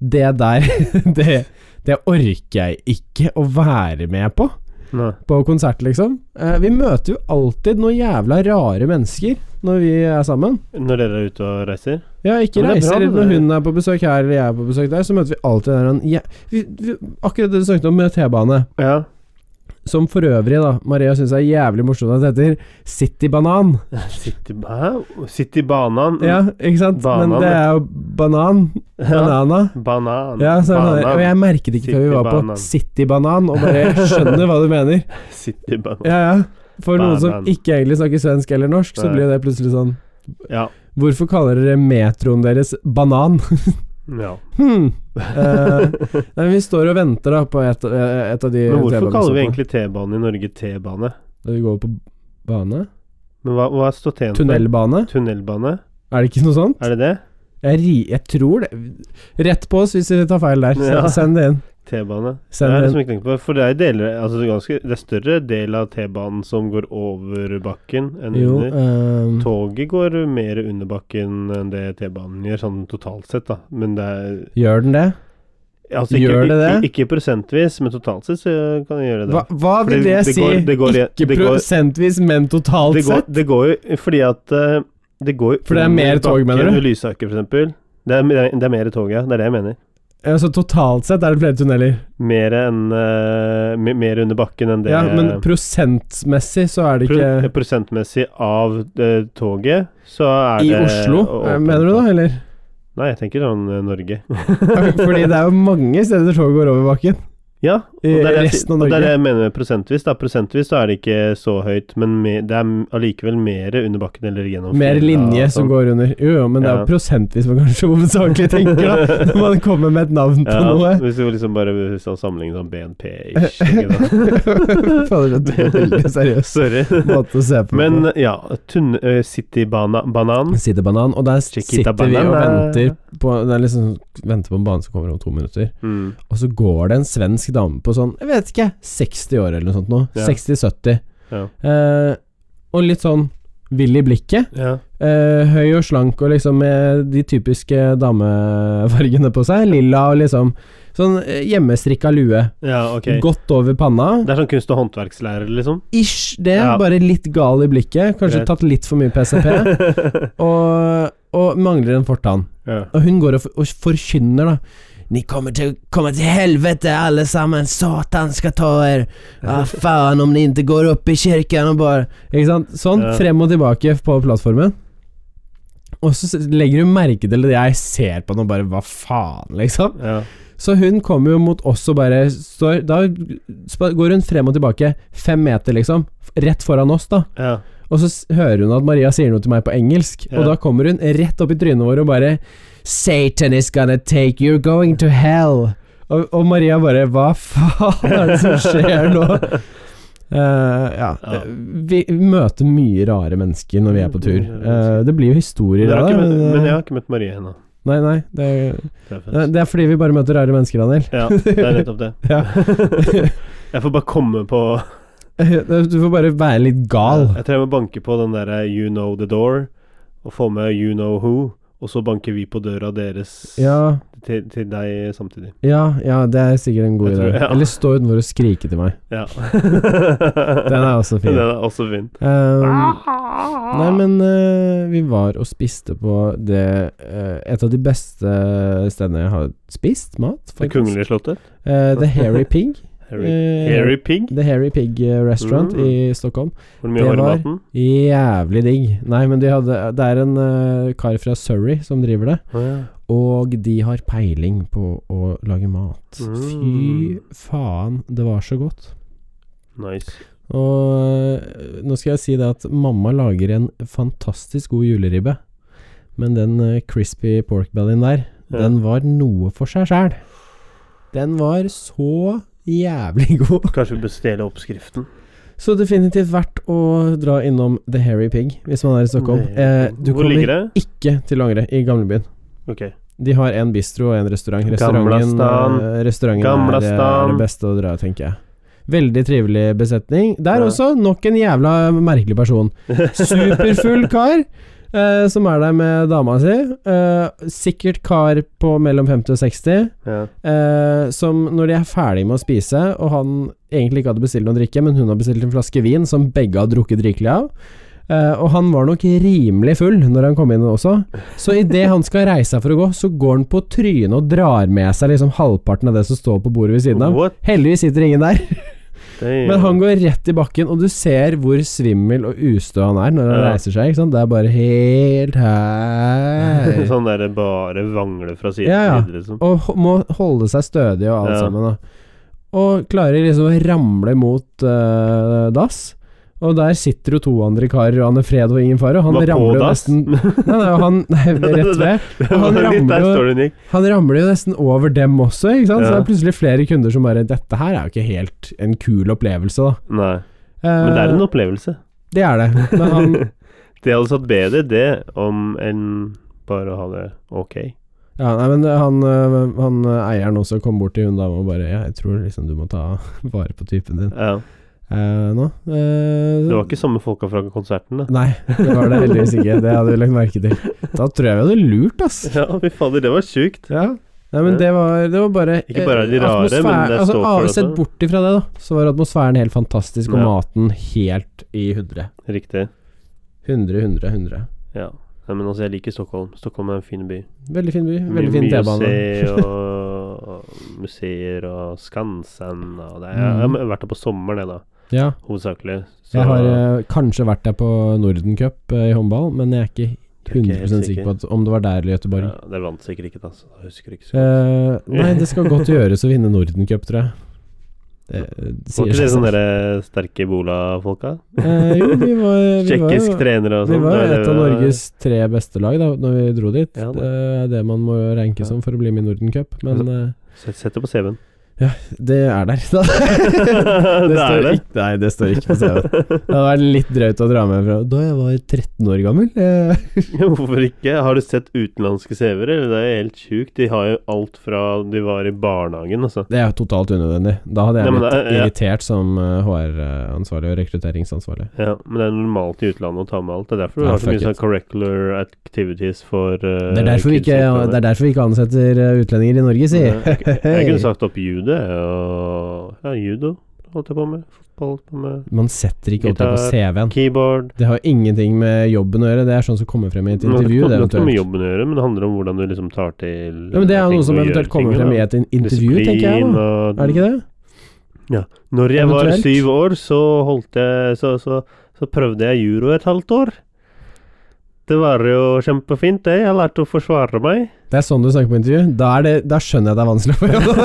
Speaker 1: det der, det, det orker jeg ikke å være med på
Speaker 2: Nei.
Speaker 1: på konsert, liksom. Eh, Vi møter jo alltid noen jævla rare mennesker når vi er sammen.
Speaker 2: Når dere er ute og reiser?
Speaker 1: Ja, ikke
Speaker 2: Men det er bra
Speaker 1: reiser
Speaker 2: med
Speaker 1: når
Speaker 2: det.
Speaker 1: hun er på besøk her eller jeg er på besøk der, så møter vi alltid den her- ja, vi, vi, Akkurat det du snakket om med T-bane,
Speaker 2: Ja.
Speaker 1: som for øvrig, da, Maria syns er jævlig morsomt at det heter City Banan.
Speaker 2: Sitt i, hæ? Sitt i banan?
Speaker 1: Ja, ikke sant?
Speaker 2: Banan,
Speaker 1: Men det er jo banan. Banana.
Speaker 2: Banan.
Speaker 1: Ja, så er det sånn,
Speaker 2: banan.
Speaker 1: og jeg merket ikke før vi var
Speaker 2: Citybanan.
Speaker 1: på City Banan, og bare jeg skjønner hva du mener.
Speaker 2: Sitt i banan.
Speaker 1: Ja, ja. For noen som
Speaker 2: Banan.
Speaker 1: ikke egentlig snakker svensk eller norsk, så
Speaker 2: Nei.
Speaker 1: blir jo det plutselig sånn
Speaker 2: Ja.
Speaker 1: Hvorfor kaller dere metroen deres banan?
Speaker 2: ja.
Speaker 1: Hmm. Eh, nei, men vi står og venter da på et, eh, et av de
Speaker 2: Men hvorfor
Speaker 1: T-banene
Speaker 2: kaller vi
Speaker 1: som-
Speaker 2: egentlig T-bane i Norge T-bane?
Speaker 1: Vi går på bane?
Speaker 2: Men hva, hva står T-en for?
Speaker 1: Tunnelbane?
Speaker 2: Tunnelbane?
Speaker 1: Er det ikke noe sånt?
Speaker 2: Er det det?
Speaker 1: Jeg, ri, jeg tror det. Rett på oss hvis vi tar feil der.
Speaker 2: Ja.
Speaker 1: Send- Send det inn.
Speaker 2: T-bane. Det
Speaker 1: Send det
Speaker 2: er det
Speaker 1: inn.
Speaker 2: som jeg ikke tenker på. For det er, deler, altså det er ganske, det er større del av T-banen som går over bakken enn
Speaker 1: Jo,
Speaker 2: under.
Speaker 1: ehm,
Speaker 2: Toget går mer under bakken enn det T-banen gjør, sånn totalt sett, da. Men det er
Speaker 1: gjør den det?
Speaker 2: altså, ikke,
Speaker 1: Gjør det
Speaker 2: ikke-
Speaker 1: det?
Speaker 2: Ikke prosentvis, men totalt sett så kan det gjøre det.
Speaker 1: Hva, hva vil
Speaker 2: Fordi
Speaker 1: det,
Speaker 2: det
Speaker 1: si?
Speaker 2: går- det går i-
Speaker 1: ikke
Speaker 2: det går-
Speaker 1: prosentvis, men totalt
Speaker 2: det, går,
Speaker 1: sett?
Speaker 2: det går jo fordi at eh, det går jo
Speaker 1: For det er mer
Speaker 2: under
Speaker 1: tog, mener du?
Speaker 2: bakken ved Lysaker, for eksempel. Det er, det er mer tog, ja. Det er det jeg mener.
Speaker 1: Altså totalt sett er det flere tunneler.
Speaker 2: Mer enn eh, me- Mer under bakken enn det
Speaker 1: Ja, men prosentmessig så er det
Speaker 2: Pro-
Speaker 1: ikke
Speaker 2: prosentmessig av eh, toget, så er
Speaker 1: I
Speaker 2: det
Speaker 1: Oslo,
Speaker 2: å-
Speaker 1: eh,
Speaker 2: åpent,
Speaker 1: mener du da, eller?
Speaker 2: Nei, jeg tenker sånn eh, Norge.
Speaker 1: Fordi det er jo mange steder toget går over bakken.
Speaker 2: Ja, og det
Speaker 1: I
Speaker 2: er det, jeg
Speaker 1: resten av
Speaker 2: sier- og det er
Speaker 1: Norge.
Speaker 2: det jeg mener med prosentvis. Da. Prosentvis så er det ikke så høyt, men me, det er allikevel mer under bakken eller gjennom
Speaker 1: Mer linje som går under. Jo, jo, men det er
Speaker 2: sånn. Ja.
Speaker 1: jo prosentvis man kanskje hovedsakelig tenker, da. Når man kommer med et navn på
Speaker 2: ja,
Speaker 1: noe.
Speaker 2: Hvis vi liksom bare sånn sammenligner sånn BNP-ish. ikke sant?
Speaker 1: Fader, det er en veldig seriøs
Speaker 2: Sorry.
Speaker 1: måte å se på.
Speaker 2: Men eh, ja, tunn, ø, City bana, Banan.
Speaker 1: Sidebanan, og der
Speaker 2: Chiquita
Speaker 1: sitter vi og
Speaker 2: banana.
Speaker 1: venter på Det er liksom venter på en bane som kommer om to minutter.
Speaker 2: Mm.
Speaker 1: Og så går det en svensk dame på sånn, jeg vet ikke, 60 år eller noe sånt nå.
Speaker 2: Ja.
Speaker 1: 60-70.
Speaker 2: Ja.
Speaker 1: Eh, og litt sånn vill i blikket.
Speaker 2: Ja.
Speaker 1: Eh, høy og slank og liksom med de typiske damefargene på seg. Lilla og liksom Sånn eh, hjemmestrikka lue.
Speaker 2: ja, ok.
Speaker 1: Godt over panna.
Speaker 2: Det er sånn kunst- og håndverkslærer, liksom.
Speaker 1: Ish det,
Speaker 2: Ja.
Speaker 1: bare litt gal i blikket. Kanskje
Speaker 2: Greit.
Speaker 1: tatt litt for mye PCP. og, og mangler en fortann.
Speaker 2: ja.
Speaker 1: Og hun går og, for, og forkynner, da. Ni kommer til, kommer til helvete, alle sammen. Satan skal ta dere. Ah, faen om ni ikke går opp i kirken og bare Ikke sant? Sånn.
Speaker 2: Ja.
Speaker 1: Frem og tilbake på plattformen. Og så s- legger hun merke til det jeg ser på henne og bare Hva faen, liksom?
Speaker 2: Ja.
Speaker 1: Så hun kommer jo mot oss og bare står Da spa- går hun frem og tilbake fem meter, liksom. f- Rett foran oss, da.
Speaker 2: Ja.
Speaker 1: Og så s- hører hun at Maria sier noe til meg på engelsk,
Speaker 2: Ja.
Speaker 1: og da kommer hun rett opp i trynet vårt og bare Satan is gonna take you, you're going to hell. Og, og Maria bare Hva faen er det som skjer nå? Eh, ja.
Speaker 2: Ja.
Speaker 1: Vi, vi møter mye rare mennesker når vi er på tur.
Speaker 2: Mm,
Speaker 1: Eh, det blir jo
Speaker 2: Men,
Speaker 1: historier
Speaker 2: jeg
Speaker 1: av
Speaker 2: har
Speaker 1: det.
Speaker 2: ikke møtt,
Speaker 1: men, eh,
Speaker 2: men jeg har ikke møtt Marie ennå.
Speaker 1: Nei, nei. Det er,
Speaker 2: Det er fett.
Speaker 1: det er fordi vi bare møter rare mennesker, Daniel.
Speaker 2: Ja, det er nettopp det.
Speaker 1: Ja.
Speaker 2: jeg får bare komme på
Speaker 1: Du får bare være litt gal.
Speaker 2: Jeg tror jeg må banke på den derre You know the door, og få med You know who, og så banker vi på døra deres
Speaker 1: Ja,
Speaker 2: til, til deg samtidig.
Speaker 1: ja, ja det er sikkert en god
Speaker 2: Jeg
Speaker 1: idé.
Speaker 2: tror- ja.
Speaker 1: Eller stå utenfor og skrike til meg.
Speaker 2: Ja.
Speaker 1: Den er også fin.
Speaker 2: Den er også fin.
Speaker 1: Ehm,
Speaker 2: Ah.
Speaker 1: nei, men eh, vi var og spiste på det eh, Et av de beste stedene jeg har spist mat.
Speaker 2: Det
Speaker 1: faktisk.
Speaker 2: kongelige slottet.
Speaker 1: Eh, The Hairy Pig.
Speaker 2: Harry,
Speaker 1: Eh,
Speaker 2: Harry Pig.
Speaker 1: The Hairy Pig eh, Restaurant
Speaker 2: Mm.
Speaker 1: i Stockholm.
Speaker 2: Hvor mye
Speaker 1: det
Speaker 2: var det i
Speaker 1: var-
Speaker 2: maten?
Speaker 1: Jævlig digg. Nei, men de hadde, det er en eh, kar fra Surrey som driver det,
Speaker 2: Å, ja.
Speaker 1: og de har peiling på å lage mat. Fy
Speaker 2: Mm.
Speaker 1: faen, det var så godt.
Speaker 2: Nice.
Speaker 1: Og øh, nå skal jeg si det at mamma lager en fantastisk god juleribbe. Men den øh, crispy pork bellyen der,
Speaker 2: Ja.
Speaker 1: den var noe for seg sjæl. Den var så jævlig god.
Speaker 2: Kanskje vi bestiller oppskriften.
Speaker 1: Så definitivt verdt å dra innom The Hairy Pig hvis man er i Stockholm. Eh, du
Speaker 2: Hvor ligger
Speaker 1: kommer
Speaker 2: det?
Speaker 1: ikke til å angre i gamlebyen.
Speaker 2: Ok.
Speaker 1: De har en bistro og en restaurant. Restauranten,
Speaker 2: Gamlastan.
Speaker 1: eh, restauranten er, eh,
Speaker 2: Gamlastan.
Speaker 1: er det beste å dra, tenker jeg. Veldig trivelig besetning. Der
Speaker 2: Ja.
Speaker 1: også, nok en jævla merkelig person. Superfull kar eh, som er der med dama si. Eh, sikkert kar på mellom 50 og 60.
Speaker 2: Ja.
Speaker 1: eh, som når de er ferdig med å spise, og han egentlig ikke hadde bestilt noe å drikke, men hun har bestilt en flaske vin som begge har drukket rikelig av. Eh, og han var nok rimelig full når han kom inn også, så idet han skal reise seg for å gå, så går han på trynet og drar med seg liksom halvparten av det som står på bordet ved siden av.
Speaker 2: What?
Speaker 1: Heldigvis sitter ingen der.
Speaker 2: Damn.
Speaker 1: Men han går rett i bakken, og du ser hvor svimmel og ustø han er når han
Speaker 2: Ja.
Speaker 1: reiser seg. Ikke sant? Det er bare helt her
Speaker 2: Sånn derre bare vangle fra side
Speaker 1: Ja, ja.
Speaker 2: til side, liksom.
Speaker 1: Og ho- må holde seg stødig og alt
Speaker 2: Ja.
Speaker 1: sammen. Da. Og klarer liksom å ramle mot eh, dass. Og der sitter jo to andre karer, og han er fred og ingen fare, og han
Speaker 2: Var på
Speaker 1: ramler jo
Speaker 2: dass?
Speaker 1: nesten Nei, nei, og han, nei rett ved.
Speaker 2: Det var
Speaker 1: Han
Speaker 2: litt
Speaker 1: ramler
Speaker 2: Der
Speaker 1: jo-
Speaker 2: står det Nick.
Speaker 1: Han ramler jo nesten over dem også, ikke sant? så
Speaker 2: Ja.
Speaker 1: det er plutselig flere kunder som bare Dette her er jo ikke helt en kul opplevelse, da. Eh,
Speaker 2: Nei. Men det er en opplevelse.
Speaker 1: det er det. Men han,
Speaker 2: det hadde satt bedre det om enn bare å ha det ok.
Speaker 1: Ja, nei, men det- han, øh, han øh, eieren også kom bort til hun dama og bare Ja, jeg tror liksom du må ta vare på typen din
Speaker 2: Ja.
Speaker 1: eh, nå. Eh,
Speaker 2: Det var ikke samme folka fra konserten, da.
Speaker 1: Nei, det var det heldigvis ikke. Det hadde vi lagt merke til. Da tror jeg vi hadde lurt, ass.
Speaker 2: Ja, fy fader, det var sjukt.
Speaker 1: Ja. Nei, men det var, det var bare
Speaker 2: Ikke bare er de
Speaker 1: eh,
Speaker 2: rare, men det
Speaker 1: atmosfære-
Speaker 2: står for det
Speaker 1: altså, Sett
Speaker 2: også.
Speaker 1: bort ifra det, da, så var atmosfæren helt fantastisk, og
Speaker 2: Ja.
Speaker 1: maten helt i hundre.
Speaker 2: Riktig.
Speaker 1: Hundre, hundre, hundre.
Speaker 2: Ja. Nei, men altså, jeg liker Stockholm. Stockholm er en fin by.
Speaker 1: Veldig fin by.
Speaker 2: My-
Speaker 1: Veldig fin
Speaker 2: mye å
Speaker 1: T-bane.
Speaker 2: se, og, og museer og Skansen og det. Jeg, jeg har vært der på sommeren, jeg, da.
Speaker 1: Ja.
Speaker 2: Hovedsakelig. Så-
Speaker 1: Mm. Jeg har eh, kanskje vært der på Nordencup eh, i håndball, men jeg er ikke
Speaker 2: Du er ikke
Speaker 1: 100
Speaker 2: helt
Speaker 1: sikker på at, om det var der eller Göteborg.
Speaker 2: ja, Dere vant sikkert ikke, da. Så jeg husker ikke så godt.
Speaker 1: Eh, nei, det skal godt gjøres å vinne Nordencup, tror jeg. Det
Speaker 2: Var
Speaker 1: sier
Speaker 2: ikke det
Speaker 1: seg
Speaker 2: sånne
Speaker 1: selv.
Speaker 2: der sterke Ebola-folka?
Speaker 1: Eh, jo, vi var, vi var,
Speaker 2: Tsjekkisk trenere og
Speaker 1: vi
Speaker 2: sånn?
Speaker 1: var
Speaker 2: det
Speaker 1: et av
Speaker 2: det-
Speaker 1: Norges tre beste lag da når vi dro dit.
Speaker 2: Ja, da.
Speaker 1: det er det man må ranke som for å bli med i Nordencup, men
Speaker 2: Altså-
Speaker 1: eh,
Speaker 2: Sett sett det på CV-en.
Speaker 1: det er der. Da.
Speaker 2: det
Speaker 1: står
Speaker 2: er det.
Speaker 1: Ikke, nei, det står ikke på CV-en. Det hadde vært litt drøyt å dra med fra da jeg var 13 år gammel. eh.
Speaker 2: Hvorfor ikke? Har du sett utenlandske CV-er? eller? Det er helt sjukt. De har jo alt fra de var i barnehagen, altså.
Speaker 1: Det er jo totalt unødvendig. Da hadde jeg
Speaker 2: Ja, men
Speaker 1: blitt
Speaker 2: det er- ja.
Speaker 1: irritert som HR-ansvarlig og rekrutteringsansvarlig.
Speaker 2: Ja, men det er normalt i utlandet å ta med alt. Det er derfor du
Speaker 1: Ja,
Speaker 2: har så
Speaker 1: fuck
Speaker 2: mye sånn
Speaker 1: it.
Speaker 2: curricular activities for eh,
Speaker 1: Det er derfor vi ikke, det er derfor vi ikke ansetter eh, utlendinger i Norge, si.
Speaker 2: Jeg, jeg kunne sagt opp judo og Ja, judo holdt jeg på med. Fotball holdt jeg på med.
Speaker 1: Man setter ikke opp det på
Speaker 2: Gitar.
Speaker 1: CV-en.
Speaker 2: Keyboard.
Speaker 1: Det har interting med jobben å gjøre, det er sånn som kommer frem i et
Speaker 2: Men
Speaker 1: intervju. Det
Speaker 2: Det har ikke noe med
Speaker 1: eventuelt.
Speaker 2: jobben å gjøre, men det handler om hvordan du liksom tar til
Speaker 1: Ja, men det er jo
Speaker 2: ting
Speaker 1: noe som
Speaker 2: og gjør
Speaker 1: eventuelt kommer
Speaker 2: ting,
Speaker 1: frem
Speaker 2: da.
Speaker 1: i et in- intervju, tenker jeg.
Speaker 2: Disiplin
Speaker 1: da
Speaker 2: og-
Speaker 1: Er det ikke det?
Speaker 2: Når jeg var
Speaker 1: Eventuelt.
Speaker 2: syv år, så holdt jeg Så, så, så prøvde jeg juro et halvt år. Det var jo kjempefint, det. Jeg lærte å forsvare meg.
Speaker 1: Det er sånn du snakker på intervju. Da, er det, da skjønner jeg det er vanskelig å få jobb.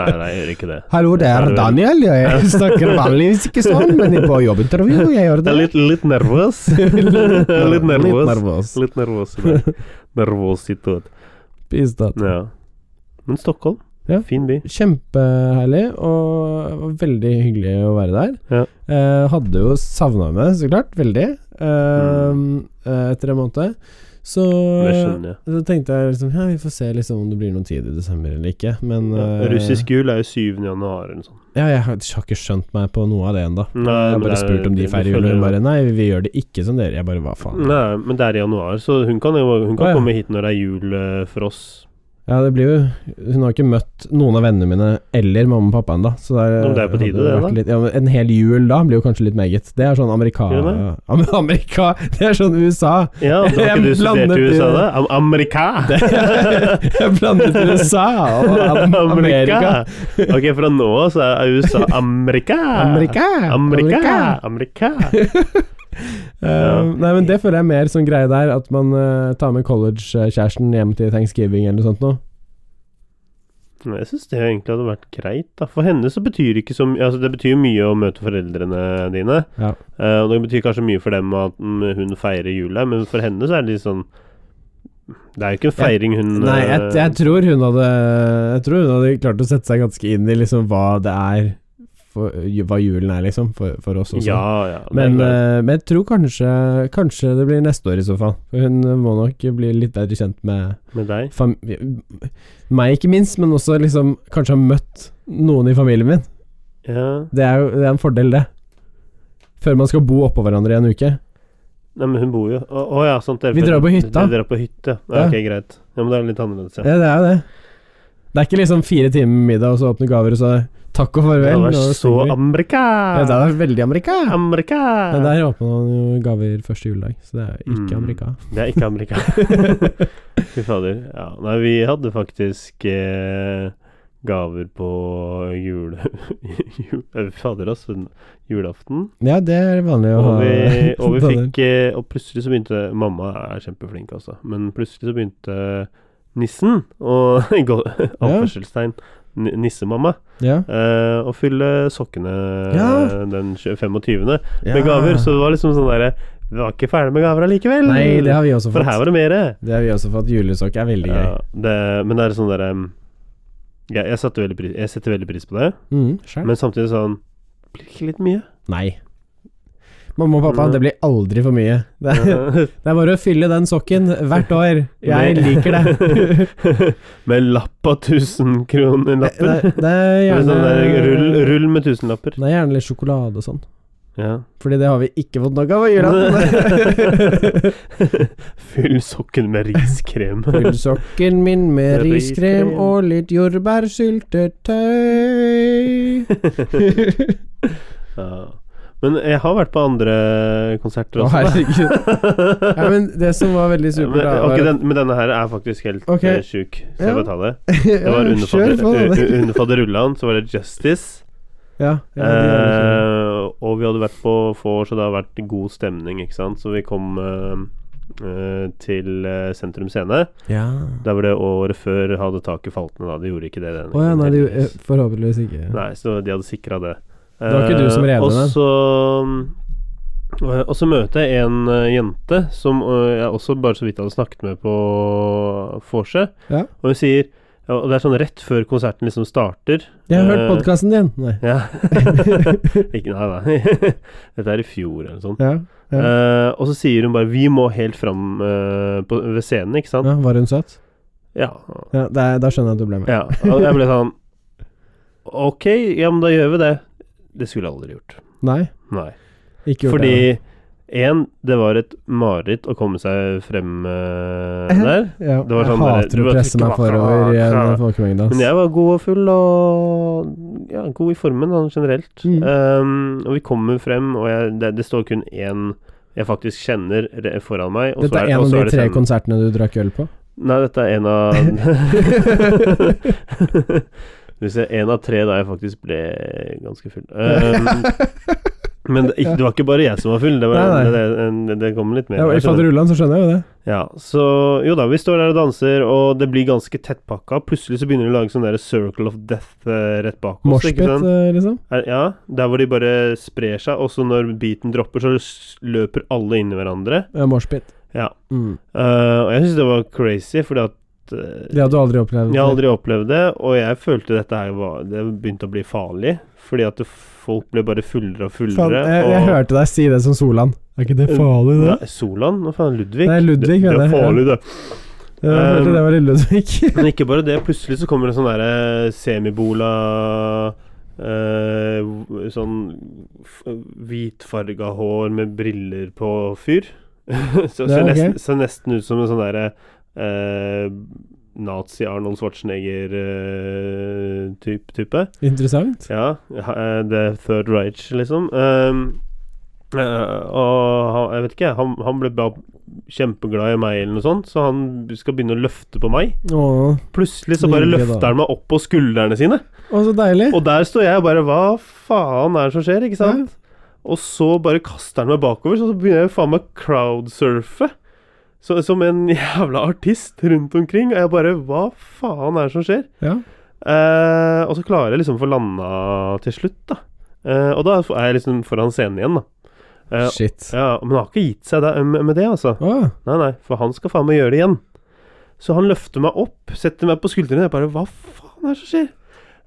Speaker 2: Nei, nei, jeg gjør ikke det.
Speaker 1: Hallo, det er Daniel. Jeg snakker vanligvis ikke sånn, men på jobbintervju jeg gjør
Speaker 2: Jeg
Speaker 1: det.
Speaker 2: er litt, litt nervøs. litt nervøs. Litt nervøs. i dag. Nervøsitet.
Speaker 1: Bistand.
Speaker 2: Ja. Men Stockholm,
Speaker 1: Ja.
Speaker 2: fin by.
Speaker 1: Kjempeherlig, og det var veldig hyggelig å være der.
Speaker 2: Ja.
Speaker 1: Eh, hadde jo savna henne, så klart. Veldig. Eh, eh, Etter en måned. Så,
Speaker 2: Mm. Det skjønner jeg.
Speaker 1: så tenkte jeg liksom Ja, vi får se liksom om det blir noen tid i desember eller ikke, men eh,
Speaker 2: Russisk jul er jo 7. januar eller noe sånt.
Speaker 1: Ja, jeg har, har ikke skjønt meg på noe av det ennå. Jeg
Speaker 2: Nei,
Speaker 1: har
Speaker 2: men
Speaker 1: bare
Speaker 2: det er-
Speaker 1: spurt om de
Speaker 2: det-
Speaker 1: feirer
Speaker 2: det
Speaker 1: jul, og hun
Speaker 2: følger
Speaker 1: bare Nei, vi gjør det ikke som dere. Jeg bare Hva faen?
Speaker 2: Nei, men det er i januar, så hun kan, jo- hun kan
Speaker 1: Å, ja.
Speaker 2: komme hit når det er jul eh, for oss.
Speaker 1: Ja, det blir jo Hun har ikke møtt noen av vennene mine eller mamma og pappa ennå. Så det
Speaker 2: Ja, men det er på tide,
Speaker 1: hadde
Speaker 2: det,
Speaker 1: vært
Speaker 2: da.
Speaker 1: Litt, ja, men en hel jul da blir jo kanskje litt meget. Det er sånn Amerika...
Speaker 2: Gjør
Speaker 1: Ja, men Amerika Det er sånn USA!
Speaker 2: Ja, da har
Speaker 1: Jeg
Speaker 2: ikke du studert
Speaker 1: blandet
Speaker 2: i USA,
Speaker 1: i-
Speaker 2: da? Am Amerika!
Speaker 1: Jeg blandet USA og sånn Am- Amerika.
Speaker 2: ok, fra nå av så er USA Amerika!
Speaker 1: Amerika!
Speaker 2: Amerika! Amerika.
Speaker 1: Eh, nei, men det føler jeg er mer sånn greie der, at man eh, tar med college-kjæresten hjem til thanksgiving eller noe sånt noe.
Speaker 2: Nei, Jeg syns det egentlig hadde vært greit. da For henne så betyr det ikke så mye Altså, det betyr mye å møte foreldrene dine.
Speaker 1: Ja.
Speaker 2: Eh, og det betyr kanskje mye for dem at mm, hun feirer jula, men for henne så er det litt sånn Det er jo ikke en feiring hun
Speaker 1: Nei, jeg,
Speaker 2: eh,
Speaker 1: jeg tror hun hadde Jeg tror hun hadde klart å sette seg ganske inn i liksom hva det er for, Hva julen er, liksom, for, for oss også.
Speaker 2: Ja, ja. det er
Speaker 1: men,
Speaker 2: klart.
Speaker 1: eh, men jeg tror kanskje Kanskje det blir neste år i så fall. For hun må nok bli litt bedre kjent med
Speaker 2: Med deg?
Speaker 1: fam meg, ikke minst, men også liksom kanskje ha møtt noen i familien min.
Speaker 2: Ja.
Speaker 1: Det er jo det er en fordel, det. Før man skal bo oppå hverandre i en uke.
Speaker 2: Nei, men hun bor jo Å å ja, sant. dere-
Speaker 1: Vi drar på hytta.
Speaker 2: Dere drar på hytte.
Speaker 1: Ja.
Speaker 2: Ja, ok, greit. Ja, Men det er litt annerledes, ja.
Speaker 1: Ja, det er jo det. Det er ikke liksom fire timer middag, og så åpne gaver, og så takk og
Speaker 2: Det
Speaker 1: farvel.
Speaker 2: hadde
Speaker 1: nå
Speaker 2: vært så
Speaker 1: stikker vi.
Speaker 2: Amerika!
Speaker 1: ja, det hadde vært veldig Amerika.
Speaker 2: Amerika!
Speaker 1: Men der åpna han jo gaver første juledag, så det er jo ikke
Speaker 2: Mm.
Speaker 1: Amerika.
Speaker 2: Det er ikke Amerika. Fy fader. Ja. Nei, vi hadde faktisk eh, gaver på jule... jul- eh, Fy fader, altså. Julaften.
Speaker 1: Ja, det er vanlig å
Speaker 2: Og
Speaker 1: ha.
Speaker 2: vi, og vi
Speaker 1: sånne.
Speaker 2: fikk eh, Og plutselig så begynte Mamma er kjempeflink, altså. Men plutselig så begynte nissen, og i gå- anførselstegn, ni- nissemamma,
Speaker 1: ja.
Speaker 2: eh, å fylle sokkene
Speaker 1: Ja.
Speaker 2: eh, den 25. med gaver. Så det var liksom sånn derre Vi var ikke ferdig med gaver allikevel.
Speaker 1: Nei, det har vi også
Speaker 2: For her
Speaker 1: fått.
Speaker 2: var det mere.
Speaker 1: Det har vi også fått. Julesokk er veldig gøy.
Speaker 2: Ja, det, men det er sånn derre jeg, jeg, satte veldig pris, jeg setter veldig pris på det,
Speaker 1: Mm, skjønt.
Speaker 2: men samtidig sånn Blir det ikke litt mye?
Speaker 1: Nei. Mamma og pappa,
Speaker 2: Mm.
Speaker 1: det blir aldri for mye. Det er,
Speaker 2: Jeg
Speaker 1: det er bare å fylle den sokken hvert år. Jeg liker det.
Speaker 2: det. med lapp av
Speaker 1: Det, det,
Speaker 2: tusenkronerlapper.
Speaker 1: det er gjerne
Speaker 2: Sånn der rull, rull med tusenlapper.
Speaker 1: Det er gjerne litt sjokolade og sånn.
Speaker 2: Ja.
Speaker 1: Fordi det har vi ikke fått nok av på julaften.
Speaker 2: Fyll sokken med riskrem.
Speaker 1: Pølsesokken min med riskrem
Speaker 2: Riskrem.
Speaker 1: og litt jordbærsyltetøy.
Speaker 2: ja. Men jeg har vært på andre konserter
Speaker 1: Å,
Speaker 2: også. da.
Speaker 1: herregud. Ja, men det som var veldig
Speaker 2: men,
Speaker 1: supert, da
Speaker 2: ok,
Speaker 1: var
Speaker 2: den, men denne her er faktisk helt
Speaker 1: Ok.
Speaker 2: eh, sjuk. Skal jeg
Speaker 1: Ja.
Speaker 2: bare ta det? Det
Speaker 1: Ja,
Speaker 2: var under
Speaker 1: Kjør på, da.
Speaker 2: fader- u- under faderullan, så var det Justice.
Speaker 1: Ja, ja, det er det som-
Speaker 2: eh, og vi hadde vært på vors, og det hadde vært god stemning, ikke sant. Så vi kom eh, eh, til eh, Sentrum Scene.
Speaker 1: Ja.
Speaker 2: Der var det året før hadde taket falt ned, da. De gjorde ikke det denne
Speaker 1: Å ja, nei, det er jo- eh,
Speaker 2: heldigvis.
Speaker 1: forhåpentligvis ikke.
Speaker 2: Nei, så de hadde sikra det.
Speaker 1: Det var ikke du som rev
Speaker 2: Eh, og
Speaker 1: det ned.
Speaker 2: så eh, og så møter jeg en eh, jente som eh, jeg også bare så vidt hadde snakket med på vorset.
Speaker 1: Ja.
Speaker 2: Og hun sier ja, Og det er sånn rett før konserten liksom starter.
Speaker 1: Jeg har hørt
Speaker 2: eh,
Speaker 1: podkasten din! Nei.
Speaker 2: Ja. ikke, nei, nei. Dette er i fjor eller noe sånt.
Speaker 1: Ja. Ja.
Speaker 2: Eh, og så sier hun bare 'Vi må helt fram eh, på, ved scenen', ikke sant?
Speaker 1: ja. Var hun søt?
Speaker 2: Ja.
Speaker 1: Ja, det er, da skjønner jeg at du ble med.
Speaker 2: Ja, og jeg ble sånn Ok, ja, men da gjør vi det. Det skulle jeg aldri gjort.
Speaker 1: Nei?
Speaker 2: Nei.
Speaker 1: Ikke gjort
Speaker 2: Fordi
Speaker 1: det.
Speaker 2: én, det var et mareritt å komme seg frem eh, der.
Speaker 1: Ja,
Speaker 2: det var
Speaker 1: jeg
Speaker 2: sånn der-
Speaker 1: hater
Speaker 2: du
Speaker 1: å
Speaker 2: bare
Speaker 1: presse
Speaker 2: trykker
Speaker 1: meg
Speaker 2: bare
Speaker 1: forover i en
Speaker 2: fra-
Speaker 1: folkemengde.
Speaker 2: Men
Speaker 1: ass.
Speaker 2: jeg var god og full og ja, god i formen da, generelt.
Speaker 1: Mm.
Speaker 2: Um, og vi kommer frem, og jeg, det, det står kun én jeg faktisk kjenner re- foran meg. Og
Speaker 1: Dette
Speaker 2: så
Speaker 1: er
Speaker 2: er,
Speaker 1: en
Speaker 2: og
Speaker 1: av
Speaker 2: så
Speaker 1: de
Speaker 2: er det sånn-
Speaker 1: tre
Speaker 2: scenen.
Speaker 1: konsertene du drakk øl på?
Speaker 2: Nei, dette er en av Du ser, en av tre da jeg faktisk ble ganske full. Um, men det, ikke, det var ikke bare jeg som var full, det, var,
Speaker 1: Nei, nei.
Speaker 2: det, det, det kom litt mer.
Speaker 1: Ja,
Speaker 2: her,
Speaker 1: I
Speaker 2: skjønner du.
Speaker 1: faderullan så skjønner jeg jo det.
Speaker 2: ja, så jo da, vi står der og danser, og det blir ganske tettpakka. Plutselig så begynner de å lage sånn der Circle of Death eh, rett bak oss. ikke
Speaker 1: Moshpit,
Speaker 2: sant?
Speaker 1: eh, liksom.
Speaker 2: Er- Ja, der hvor de bare sprer seg, og så når beaten dropper, så s- løper alle inn i hverandre.
Speaker 1: Ja, moshpit.
Speaker 2: Ja.
Speaker 1: Mm.
Speaker 2: Eh, og jeg syns det var crazy, fordi at eh,
Speaker 1: Det hadde du aldri opplevd?
Speaker 2: Jeg har aldri opplevd det, og jeg følte dette her var Det begynte å bli farlig, fordi at det- folk ble bare fullere og fullere.
Speaker 1: Faen, jeg, jeg
Speaker 2: og,
Speaker 1: hørte deg si det som Solan. Er ikke det farlig, det?
Speaker 2: Nei, Solan? Hva faen, Ludvig?
Speaker 1: Nei, Ludvig,
Speaker 2: det, det
Speaker 1: mener
Speaker 2: er
Speaker 1: jeg, ja.
Speaker 2: farlig, det.
Speaker 1: Jeg
Speaker 2: Um,
Speaker 1: hørte det var lille Ludvig.
Speaker 2: Men ikke bare det, plutselig så kommer det sånn derre semibola eh, v- Sånn f- hvitfarga hår med briller på fyr. så,
Speaker 1: Ja,
Speaker 2: ser,
Speaker 1: ok.
Speaker 2: nesten, ser nesten ut som en sånn derre eh, Nazi-Arnold Schwarzenegger-type. type.
Speaker 1: Interessant.
Speaker 2: Ja, eh, The Third Reich, liksom. Ehm, eh, og han, jeg vet ikke, han, han ble bare kjempeglad i meg, eller noe sånt, så han skal begynne å løfte på meg.
Speaker 1: Åh.
Speaker 2: Plutselig så bare
Speaker 1: Nydelig, da.
Speaker 2: løfter han meg opp på skuldrene sine,
Speaker 1: Å, så deilig.
Speaker 2: og der står jeg og bare Hva faen er det som skjer, ikke sant? Og så bare kaster han meg bakover, så så begynner jeg faen meg crowdsurfe. Så, som en jævla artist rundt omkring. Og jeg bare Hva faen er det som skjer?
Speaker 1: Ja.
Speaker 2: Eh, og så klarer jeg liksom å få landa til slutt, da. Eh, og da er jeg liksom foran scenen igjen, da. Eh,
Speaker 1: Shit.
Speaker 2: ja, men han har ikke gitt seg da, eh, med med det, altså.
Speaker 1: Åh.
Speaker 2: Nei, nei, for han skal faen meg gjøre det igjen. Så han løfter meg opp, setter meg på skuldrene, og jeg bare Hva faen er det som skjer?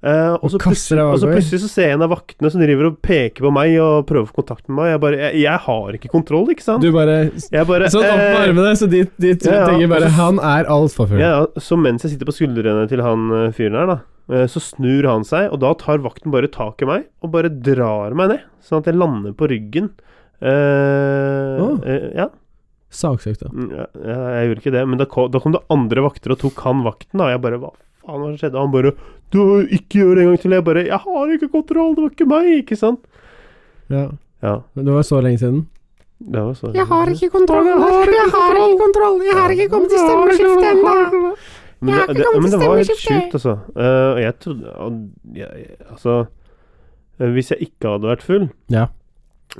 Speaker 2: Eh, og, så
Speaker 1: Og kaster
Speaker 2: plutselig,
Speaker 1: deg
Speaker 2: og så
Speaker 1: bakover.
Speaker 2: plutselig så ser jeg en av vaktene som driver og peker på meg og prøver å få kontakt med meg. Jeg bare Jeg, jeg har ikke kontroll, ikke sant?
Speaker 1: Du bare
Speaker 2: jeg bare
Speaker 1: Sånn opp med
Speaker 2: eh,
Speaker 1: armene, så de, de
Speaker 2: ja, ja.
Speaker 1: tenker bare
Speaker 2: Og så-
Speaker 1: Han er altfor full.
Speaker 2: Ja, ja, så mens jeg sitter på skuldrene til han eh, fyren her, da, eh, så snur han seg, og da tar vakten bare tak i meg og bare drar meg ned, sånn at jeg lander på ryggen. Eh,
Speaker 1: Å.
Speaker 2: eh, ja,
Speaker 1: Saksøkt, da.
Speaker 2: mm, ja, ja, jeg gjorde ikke det, men da kom, da kom det andre vakter og tok han vakten, da, og jeg bare Hva faen var det som skjedde? Og han bare Du, ikke gjør det en gang til. Jeg bare Jeg har ikke kontroll, det var ikke meg, ikke sant?
Speaker 1: Ja.
Speaker 2: Ja,
Speaker 1: Men Det var så lenge siden.
Speaker 2: det var så
Speaker 1: ikke kontroll. Jeg har ikke kontroll. Jeg har ikke kommet til stemmeskiftet ennå.
Speaker 2: Men
Speaker 3: Jeg
Speaker 2: det,
Speaker 3: har ikke
Speaker 2: det,
Speaker 3: kommet
Speaker 2: men det
Speaker 3: til
Speaker 2: var helt
Speaker 3: stemmeskiftet.
Speaker 2: sjukt, altså. Eh, og jeg trodde og jeg, jeg- Altså eh, Hvis jeg ikke hadde vært full,
Speaker 1: Ja.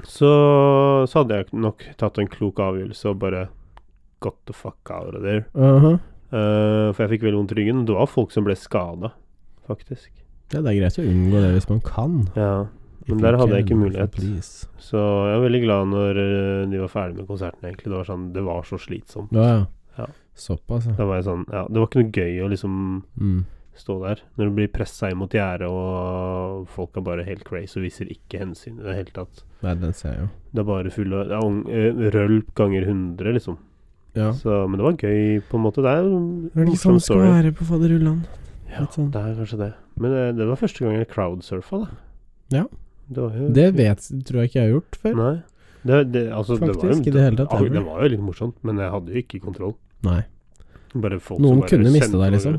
Speaker 2: så, så hadde jeg nok tatt en klok avgjørelse og bare Got the fuck out of there.
Speaker 1: Aha.
Speaker 2: Eh, for jeg fikk veldig vondt i ryggen. Det var folk som ble skada, faktisk.
Speaker 1: Ja, det er greit å unngå det hvis man kan.
Speaker 2: Ja. Men
Speaker 1: If
Speaker 2: der
Speaker 1: you
Speaker 2: hadde jeg
Speaker 1: can,
Speaker 2: ikke mulighet.
Speaker 1: please.
Speaker 2: Så jeg var veldig glad når eh, de var ferdig med konserten, egentlig. Det var, sånn, det var så slitsomt.
Speaker 1: Ja, ja.
Speaker 2: Ja.
Speaker 1: Såpass, ja.
Speaker 2: Da var jeg sånn, ja, det var ikke noe gøy å liksom
Speaker 1: Mm.
Speaker 2: stå der. Når du blir pressa inn mot gjerdet, og folk er bare helt crazy og viser ikke hensyn i det hele tatt.
Speaker 1: Nei, den ser jeg jo.
Speaker 2: Det er bare full av det er ung- eh, røll ganger 100, liksom.
Speaker 1: Ja.
Speaker 2: Så, men det var gøy, på en måte. Det er jo en
Speaker 1: Er det ikke sånn
Speaker 2: morsom
Speaker 1: det skal
Speaker 2: story.
Speaker 1: være på fadderullan?
Speaker 2: Ja,
Speaker 1: Litt sånn.
Speaker 2: det er kanskje det. Men eh, det, det var første gang jeg crowdsurfa, da.
Speaker 1: Ja.
Speaker 2: Det var jo
Speaker 1: Det vet, tror jeg ikke jeg har gjort før.
Speaker 2: Nei. Det, det, altså, det var jo,
Speaker 1: Faktisk, i det hele tatt,
Speaker 2: Ja,
Speaker 1: ever.
Speaker 2: det var jo litt morsomt, men jeg hadde jo ikke kontroll.
Speaker 1: Nei.
Speaker 2: Bare folk som
Speaker 1: Noen
Speaker 2: bare
Speaker 1: kunne miste
Speaker 2: sendte
Speaker 1: deg,
Speaker 2: meg-
Speaker 1: liksom.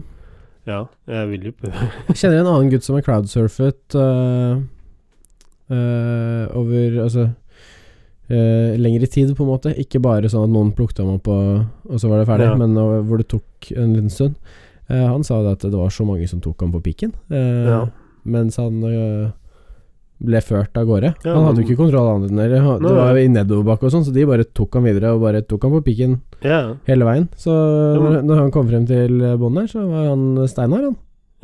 Speaker 2: Ja, jeg vil jo
Speaker 1: Jeg kjenner en annen gutt som har crowdsurfet øh, øh, over Altså øh, lengre tid, på en måte. Ikke bare sånn at noen plukket ham opp, og, og så var det ferdig,
Speaker 2: Ja.
Speaker 1: men øh, hvor det tok en liten stund. Eh, han sa jo det at det var så mange som tok ham på pikken, eh,
Speaker 2: Ja.
Speaker 1: mens han øh, ble ført av gårde.
Speaker 2: Ja,
Speaker 1: han hadde
Speaker 2: men-
Speaker 1: jo ikke kontroll annet enn dere.
Speaker 2: Nei.
Speaker 1: Det var i nedoverbakke og sånn, så de bare tok han videre og bare tok han på pikken
Speaker 2: Ja.
Speaker 1: hele veien. Så
Speaker 2: men-
Speaker 1: når, når han kom frem til bånn her, så var han Steinar,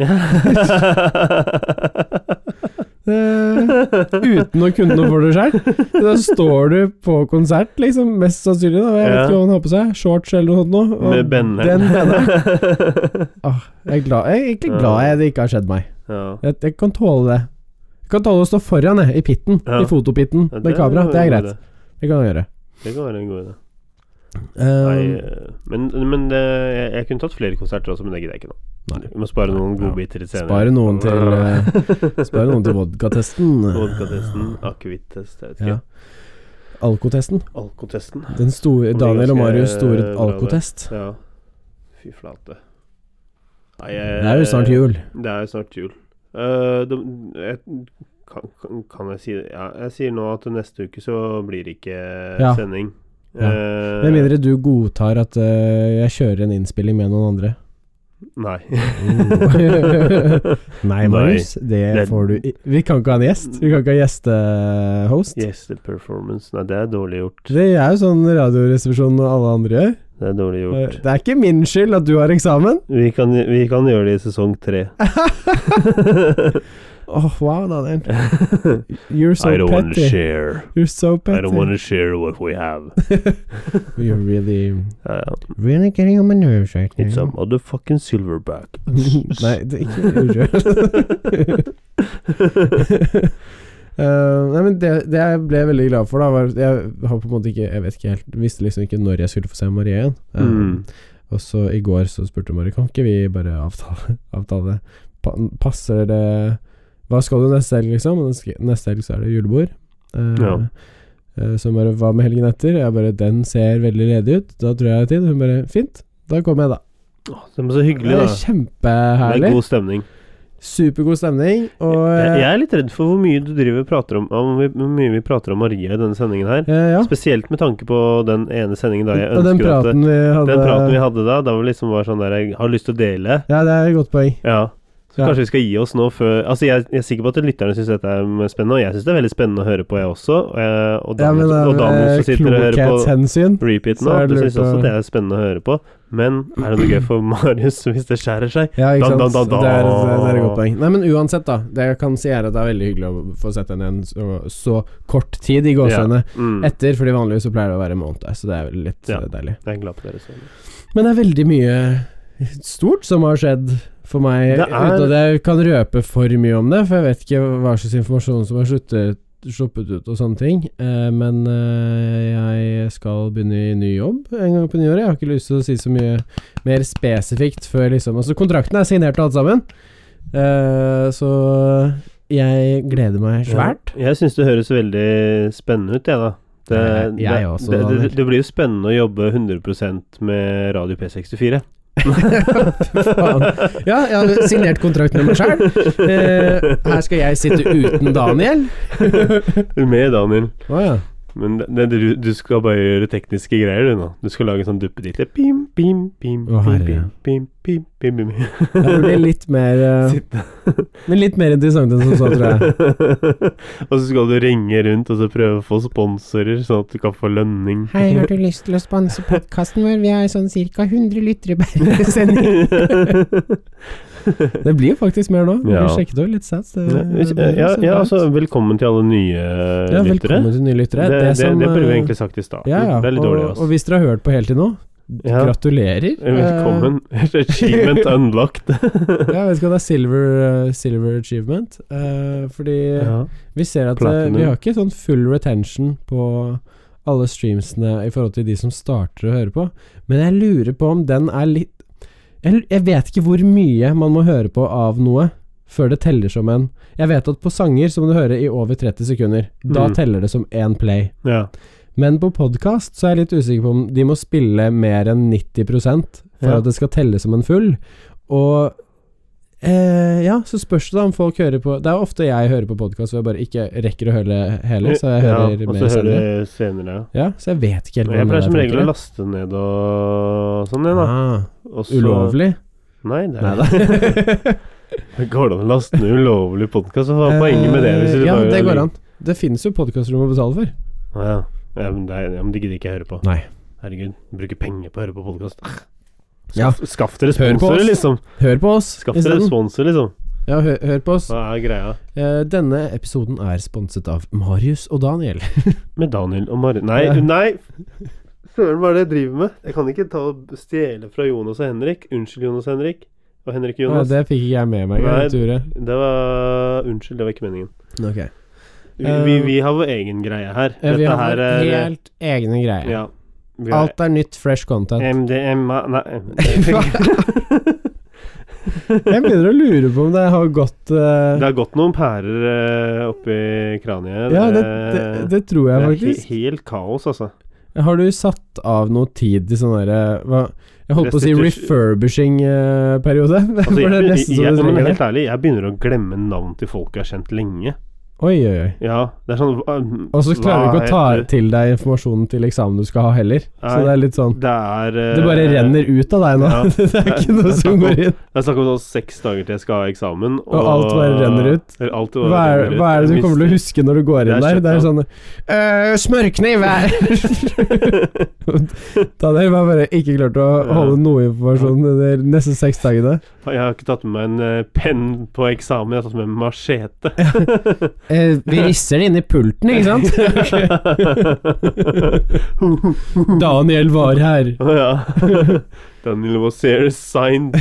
Speaker 1: han. Eh, uten å kunne noe for det sjøl. Da står du på konsert, liksom, mest sannsynlig. Da. Jeg vet
Speaker 2: Ja.
Speaker 1: ikke hva han har på seg. Shorts eller noe sånt noe. og
Speaker 2: Med benneren.
Speaker 1: Den benneren. Ah, jeg, er glad, jeg er egentlig glad jeg, det ikke har skjedd meg.
Speaker 2: ja.
Speaker 1: Jeg, jeg kan tåle det. Jeg kan tåle å stå foran, jeg, i pitten.
Speaker 2: Ja.
Speaker 1: I fotopitten
Speaker 2: Ja,
Speaker 1: med kamera.
Speaker 2: jo
Speaker 1: Det er
Speaker 2: en god
Speaker 1: greit.
Speaker 2: idé.
Speaker 1: Det kan jeg gjøre.
Speaker 2: Det kan være en god idé.
Speaker 1: Eh,
Speaker 2: Nei, eh, men men eh, jeg, jeg kunne tatt flere konserter også, men det gidder jeg ikke nå.
Speaker 1: Nei.
Speaker 2: Vi må spare noen
Speaker 1: Ja.
Speaker 2: godbiter til senere.
Speaker 1: Spare noen til,
Speaker 2: til
Speaker 1: spør noen til vodkatesten.
Speaker 2: Vodkatesten, akevitt-test, jeg vet ikke.
Speaker 1: Ja. Alkotesten.
Speaker 2: Alkotesten.
Speaker 1: Den store,
Speaker 2: Det blir
Speaker 1: Daniel og
Speaker 2: ganske
Speaker 1: Marius store
Speaker 2: bra, det.
Speaker 1: alkotest.
Speaker 2: Ja. Fy flate. Nei, eh,
Speaker 1: Det
Speaker 2: jeg-
Speaker 1: er jo snart jul.
Speaker 2: Det er jo snart jul. Eh, det, jeg, kan, kan- kan jeg si det? Ja, jeg sier nå at neste uke så blir det ikke
Speaker 1: Ja.
Speaker 2: sending.
Speaker 1: Ja.
Speaker 2: Eh,
Speaker 1: Med mindre du godtar at eh, jeg kjører en innspilling med noen andre.
Speaker 2: Nei.
Speaker 1: Nei,
Speaker 2: Nei.
Speaker 1: Marius. Det,
Speaker 2: Det-
Speaker 1: får du i Vi kan ikke ha en gjest. Vi kan ikke ha gjestehost.
Speaker 2: yes, the performance. Nei, det er dårlig gjort.
Speaker 1: Det er jo sånn Radioresepsjonen og alle andre gjør.
Speaker 2: Det er
Speaker 1: Eh,
Speaker 2: dårlig gjort.
Speaker 1: Det er ikke min skyld at du har eksamen.
Speaker 2: Vi kan, vi kan gjøre det i sesong tre.
Speaker 1: Åh, wow, Daniel. You're so
Speaker 2: I don't want to
Speaker 1: petty.
Speaker 2: share.
Speaker 1: You're so
Speaker 2: I don't want
Speaker 1: petty.
Speaker 2: to share what we have.
Speaker 1: You're really
Speaker 2: Ja, ja.
Speaker 1: Really getting on my nerves right
Speaker 2: It's a
Speaker 1: now.
Speaker 2: motherfucking silverback.
Speaker 1: Nei, det er ikke Unnskyld. Eh, nei, men det, det jeg ble veldig glad for, da var Jeg har på en måte ikke Jeg vet ikke helt Visste liksom ikke når jeg skulle få se Marie igjen. Eh,
Speaker 2: Mm.
Speaker 1: Og så i går så spurte hun Marie Kan ikke vi bare avtale, avtale? Pa, Passer det Hva skal du neste helg, liksom? Og neste- Neste helg så er det julebord. Eh,
Speaker 2: Ja.
Speaker 1: eh, så hun bare Hva med helgen etter? Jeg bare Den ser veldig ledig ut. Da tror jeg jeg har tid. Hun bare Fint. Da kommer jeg, da.
Speaker 2: Det er så hyggelig,
Speaker 1: Det
Speaker 2: da.
Speaker 1: er
Speaker 2: Det er
Speaker 1: kjempeherlig.
Speaker 2: god stemning.
Speaker 1: Supergod stemning. Og
Speaker 2: Jeg,
Speaker 1: eh,
Speaker 2: jeg er litt redd for hvor mye du driver og prater om Om vi- hvor mye vi prater om Maria i denne sendingen her.
Speaker 1: eh, ja.
Speaker 2: Spesielt med tanke på den ene sendingen da jeg
Speaker 1: Og den
Speaker 2: ønsker at det-
Speaker 1: praten vi hadde
Speaker 2: Den praten vi hadde da, da vi liksom var sånn der Jeg har lyst til å dele.
Speaker 1: Ja, det er et godt poeng.
Speaker 2: Ja. Så
Speaker 1: Ja.
Speaker 2: kanskje vi skal gi oss nå før Altså, jeg, jeg er sikker på at lytterne syns dette er spennende, og jeg syns det er veldig spennende å høre på, jeg også. Eh, Og
Speaker 1: Ja,
Speaker 2: Daniel
Speaker 1: men
Speaker 2: og Daniel som
Speaker 1: av
Speaker 2: sitter og hører på
Speaker 1: klokhetshensyn
Speaker 2: repeat
Speaker 1: Så
Speaker 2: nå.
Speaker 1: er det
Speaker 2: Du
Speaker 1: lurt
Speaker 2: syns også
Speaker 1: å-
Speaker 2: det er spennende å høre på. Men er det noe gøy for Marius hvis det skjærer seg?
Speaker 1: Ja, ikke
Speaker 2: Da,
Speaker 1: sant.
Speaker 2: da, da, da.
Speaker 1: Det, er, det er et godt poeng. Nei, men uansett, da. Det jeg kan si, er at det er veldig hyggelig å få sett henne en så, så kort tid i gåsehudene
Speaker 2: Mm. Jeg
Speaker 1: etter, fordi vanligvis så pleier det å være en måned, så det er vel litt
Speaker 2: Ja.
Speaker 1: eh, deilig.
Speaker 2: er glad på dere. Så.
Speaker 1: Men det er veldig mye stort som har skjedd for meg,
Speaker 2: Det er-
Speaker 1: uten at jeg kan røpe for mye om det, for jeg vet ikke hva slags informasjon som har sluttet, sluppet ut og sånne ting. Eh, men eh, jeg skal begynne i ny jobb en gang på nyåret. Jeg har ikke lyst til å si så mye mer spesifikt før liksom Altså, kontrakten er signert og alt sammen, Eh, så jeg gleder meg svært.
Speaker 2: Ja, jeg syns det høres veldig spennende ut, jeg, da. Det,
Speaker 1: Jeg- jeg
Speaker 2: det,
Speaker 1: også,
Speaker 2: det, det,
Speaker 1: Daniel.
Speaker 2: det blir jo spennende å jobbe 100 med Radio P64.
Speaker 1: Faen. Ja, jeg har signert kontrakt med meg sjøl. her skal jeg sitte uten Daniel.
Speaker 2: Med Daniel.
Speaker 1: Å ja.
Speaker 2: Men det, det, du, du skal bare gjøre tekniske greier, du nå. Du skal lage en sånn duppeditt. Pim, pim, pim,
Speaker 1: Å,
Speaker 2: pim,
Speaker 1: herre.
Speaker 2: pim, pim, pim, pim, pim.
Speaker 1: Det blir litt mer eh,
Speaker 2: Sitte.
Speaker 1: Men litt mer interessant enn som så, Sånn tror jeg.
Speaker 2: og så skal du ringe rundt og så prøve å få sponsorer, sånn at du kan få lønning.
Speaker 1: Hei, har du lyst til å sponse podkasten vår? Vi har sånn ca. 100 lyttere per sending. Det blir jo faktisk mer nå. Vi
Speaker 2: Ja.
Speaker 1: sjekket over litt sats. Det,
Speaker 2: Ja, ja, ja, altså, velkommen til alle nye
Speaker 1: ja,
Speaker 2: lyttere.
Speaker 1: velkommen til nye lyttere.
Speaker 2: Det, det, det,
Speaker 1: som,
Speaker 2: burde vi
Speaker 1: eh,
Speaker 2: egentlig sagt i starten.
Speaker 1: ja, ja.
Speaker 2: Det er litt dårlig
Speaker 1: og,
Speaker 2: av
Speaker 1: og
Speaker 2: oss.
Speaker 1: hvis dere har hørt på helt til nå,
Speaker 2: Ja.
Speaker 1: gratulerer.
Speaker 2: Velkommen. Achievement unlocked.
Speaker 1: Eh, ja, jeg vet ikke om det er silver, eh, silver achievement. eh, fordi
Speaker 2: Ja.
Speaker 1: vi ser at eh,
Speaker 2: Platinum.
Speaker 1: vi har ikke sånn full retention på alle streamsene i forhold til de som starter å høre på. Men jeg lurer på om den er litt Jeg, jeg vet ikke hvor mye man må høre på av noe før det teller som en Jeg vet at på sanger så må du høre i over 30 sekunder. Da
Speaker 2: Mm.
Speaker 1: teller det som én play.
Speaker 2: ja.
Speaker 1: Men på podkast så er jeg litt usikker på om de må spille mer enn 90 for
Speaker 2: Ja.
Speaker 1: at det skal telle som en full. Og eh, ja, så spørs det da om folk hører på Det er ofte jeg hører på podkast hvor jeg bare ikke rekker å høre hele, så jeg hører
Speaker 2: ja, og
Speaker 1: mer
Speaker 2: så hører
Speaker 1: senere.
Speaker 2: du senere. ja.
Speaker 1: Ja, så jeg vet ikke helt
Speaker 2: Jeg pleier som
Speaker 1: hvordan
Speaker 2: regel å laste ned og sånn, jeg, da.
Speaker 1: Ah,
Speaker 2: Og så-
Speaker 1: ulovlig?
Speaker 2: Nei, det
Speaker 1: Nei
Speaker 2: er
Speaker 1: da.
Speaker 2: Det går an å laste ned ulovlig podkast. Hva er poenget med det? Hvis
Speaker 1: Eh,
Speaker 2: du
Speaker 1: ja,
Speaker 2: bare-
Speaker 1: det går an. Det finnes jo podkaster du må betale for.
Speaker 2: Å, Ja. Ja, men det, er- ja, men det gidder ikke jeg høre på.
Speaker 1: Nei.
Speaker 2: Herregud, bruker penger på å høre på podkast.
Speaker 1: Ja.
Speaker 2: Skaff dere
Speaker 1: Hør på
Speaker 2: sponsorer,
Speaker 1: oss.
Speaker 2: liksom.
Speaker 1: Hør på oss.
Speaker 2: Skaff dere
Speaker 1: isteden.
Speaker 2: sponsorer, liksom.
Speaker 1: Ja, hør, hør på oss.
Speaker 2: Hva er greia?
Speaker 1: Eh, denne episoden er sponset av Marius og Daniel.
Speaker 2: Med Daniel og Mari Nei,
Speaker 1: Ja.
Speaker 2: nei! Søren, hva er det jeg driver med? Jeg kan ikke ta og stjele fra Jonas og Henrik. Unnskyld, Jonas og Henrik. Og Henrik og
Speaker 1: Ja,
Speaker 2: Jonas.
Speaker 1: det fikk ikke jeg med meg.
Speaker 2: Nei.
Speaker 1: Ture.
Speaker 2: Det var Unnskyld, det var ikke meningen.
Speaker 1: Ok.
Speaker 2: Vi,
Speaker 1: Eh,
Speaker 2: vi, vi har vår egen greie her.
Speaker 1: Eh, Vi
Speaker 2: Dette
Speaker 1: har
Speaker 2: her
Speaker 1: våre
Speaker 2: er
Speaker 1: helt egne greier.
Speaker 2: Ja. Vi har
Speaker 1: Alt er nytt, fresh content.
Speaker 2: MDMA ah, Nei.
Speaker 1: Jeg begynner å lure på om det har gått eh,
Speaker 2: Det har gått noen pærer eh, oppi kraniet. Eh,
Speaker 1: Ja, det, det, det tror jeg
Speaker 2: det er he
Speaker 1: faktisk.
Speaker 2: helt kaos, altså.
Speaker 1: Har du satt av noe tid til sånn derre hva- Jeg holdt på å si
Speaker 2: Restitus-
Speaker 1: refurbishing-periode.
Speaker 2: altså
Speaker 1: For det er nesten så
Speaker 2: jeg,
Speaker 1: du
Speaker 2: jeg, men
Speaker 1: trenger det.
Speaker 2: helt ærlig, jeg begynner å glemme navn til folk jeg har kjent lenge.
Speaker 1: Oi, oi, oi.
Speaker 2: Ja, det er sånn hva-
Speaker 1: Og så klarer du ikke å
Speaker 2: hva
Speaker 1: ta
Speaker 2: heter-
Speaker 1: til deg informasjonen til eksamen du skal ha heller. Så
Speaker 2: Nei.
Speaker 1: det er litt sånn
Speaker 2: Det er eh,
Speaker 1: Det bare renner ut av deg nå.
Speaker 2: ja.
Speaker 1: det er ikke
Speaker 2: Det
Speaker 1: noe
Speaker 2: er
Speaker 1: som
Speaker 2: snakk om-
Speaker 1: går inn.
Speaker 2: Det er snakk om sånn seks dager til jeg skal ha eksamen,
Speaker 1: Og alt bare renner ut.
Speaker 2: Eller Alt bare
Speaker 1: Hva er,
Speaker 2: renner ut.
Speaker 1: hva er det du
Speaker 2: Jeg
Speaker 1: kommer til å huske når du går inn
Speaker 2: Det
Speaker 1: der?
Speaker 2: er
Speaker 1: Det er sånn «Øh, Smørkniv er Daniel var bare ikke klart å holde noe informasjon de neste seks dagene.
Speaker 2: Jeg har ikke tatt med meg en eh, penn på eksamen, jeg har tatt med meg machete.
Speaker 1: Eh, vi risser det inn i pulten, ikke sant? Daniel var her.
Speaker 2: Å ja. Daniel Wazier signed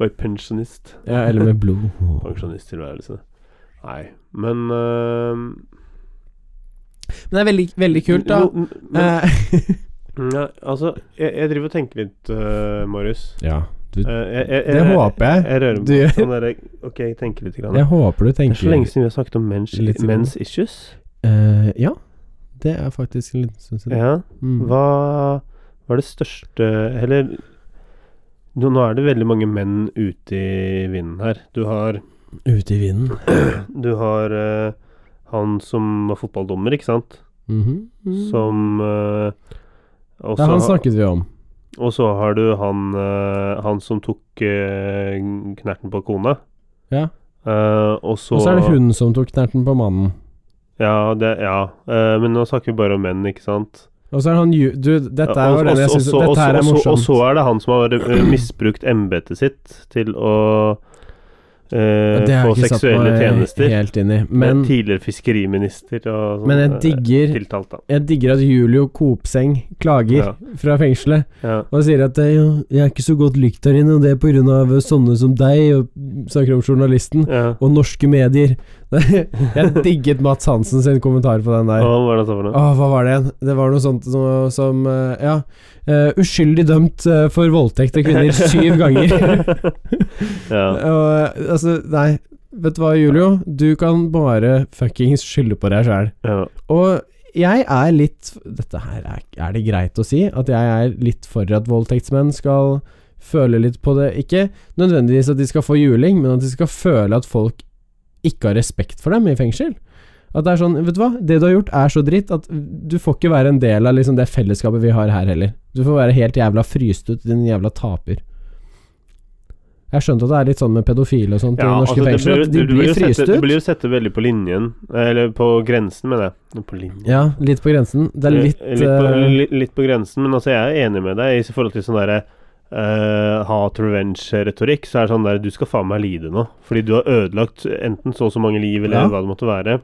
Speaker 2: by pensjonist.
Speaker 1: Ja, eller med blod.
Speaker 2: Pensjonisttilværelse. Nei, men eh,
Speaker 1: Men det er veldig, veldig kult, da.
Speaker 2: jo, n- Men,
Speaker 1: Eh,
Speaker 2: nei, altså, jeg, jeg driver og tenker litt, eh, Marius.
Speaker 1: ja, du,
Speaker 2: Eh, jeg- jeg-
Speaker 1: det
Speaker 2: jeg-
Speaker 1: håper jeg.
Speaker 2: Jeg rører meg
Speaker 1: Du-
Speaker 2: på sånn derre Ok, jeg tenker litt. Grann.
Speaker 1: Jeg håper du
Speaker 2: det er så
Speaker 1: tenker
Speaker 2: lenge siden vi har snakket om mens,
Speaker 1: Litt-
Speaker 2: mens issues.
Speaker 1: Eh, Ja, det er faktisk en liten stund siden.
Speaker 2: Ja.
Speaker 1: Mm.
Speaker 2: Eh, Hva var det største Eller nå, nå er det veldig mange menn ute i vinden her. Du har
Speaker 1: Ute i vinden.
Speaker 2: Du har eh, han som var fotballdommer, ikke sant?
Speaker 1: Mhm. Mm.
Speaker 2: Som eh, og
Speaker 1: ja,
Speaker 2: så
Speaker 1: han
Speaker 2: ha-
Speaker 1: snakket vi om.
Speaker 2: Og så har du han, eh, han som tok eh, knerten på kona.
Speaker 1: Ja.
Speaker 2: Eh, og så
Speaker 1: Og så er det hun som tok knerten på mannen.
Speaker 2: Ja, det, ja. Eh, men nå snakker vi bare om menn, ikke sant?
Speaker 1: Og så er han ju... Du, dette er
Speaker 2: Og-
Speaker 1: jo
Speaker 2: og-
Speaker 1: den jeg
Speaker 2: og
Speaker 1: syns
Speaker 2: så- og
Speaker 1: Dette her
Speaker 2: så-
Speaker 1: er
Speaker 2: og så- Og
Speaker 1: morsomt.
Speaker 2: så er det han som har eh, misbrukt embetet sitt til å eh,
Speaker 1: Det har
Speaker 2: få
Speaker 1: jeg ikke satt
Speaker 2: seksuelle
Speaker 1: meg
Speaker 2: tjenester.
Speaker 1: helt inn i. Men,
Speaker 2: Eh, tidligere fiskeriminister og sånn.
Speaker 1: men jeg
Speaker 2: eh,
Speaker 1: digger
Speaker 2: Tiltalt, da.
Speaker 1: Jeg digger at Julio Kopseng klager
Speaker 2: Ja.
Speaker 1: fra fengselet
Speaker 2: Ja.
Speaker 1: og sier at eh, «Jo, 'jeg er ikke så godt likt her inne', og det er på grunn av sånne som deg, og snakker om journalisten,
Speaker 2: ja.
Speaker 1: og norske medier. jeg digget Mats Hansen sin kommentar på den der.
Speaker 2: Og hva var det han sa for noe?
Speaker 1: Åh, hva var det igjen? Det var noe sånt som, som eh, Ja. eh, uskyldig dømt eh, for voldtekt av kvinner syv ganger.
Speaker 2: ja.
Speaker 1: Og, eh, altså, nei. Vet du hva, Julio? Du kan bare fuckings skylde på deg sjæl.
Speaker 2: ja.
Speaker 1: Og jeg er litt Dette her er, er det greit å si? At jeg er litt for at voldtektsmenn skal føle litt på det. Ikke nødvendigvis at de skal få juling, men at de skal føle at folk ikke har respekt for dem i fengsel. At det er sånn, vet du hva, det du har gjort er så dritt at du får ikke være en del av liksom det fellesskapet vi har her heller. Du får være helt jævla fryst ut, din jævla taper. Jeg skjønte at det er litt sånn med pedofile og sånt i norske
Speaker 2: altså, det
Speaker 1: fengsler,
Speaker 2: blir-
Speaker 1: at de
Speaker 2: det
Speaker 1: blir
Speaker 2: jo
Speaker 1: fryst
Speaker 2: sette, Det
Speaker 1: ut.
Speaker 2: blir jo sette veldig på linjen, eller på grensen, mener jeg. På linjen.
Speaker 1: Ja, litt på grensen. Det er litt,
Speaker 2: litt, på,
Speaker 1: eh,
Speaker 2: litt, litt på grensen, men altså, jeg er enig med deg i forhold til sånn derre eh, hat revenge-retorikk, så er det sånn der Du skal faen meg lide nå, fordi du har ødelagt enten så og så mange liv, eller
Speaker 1: Ja.
Speaker 2: hva det måtte være.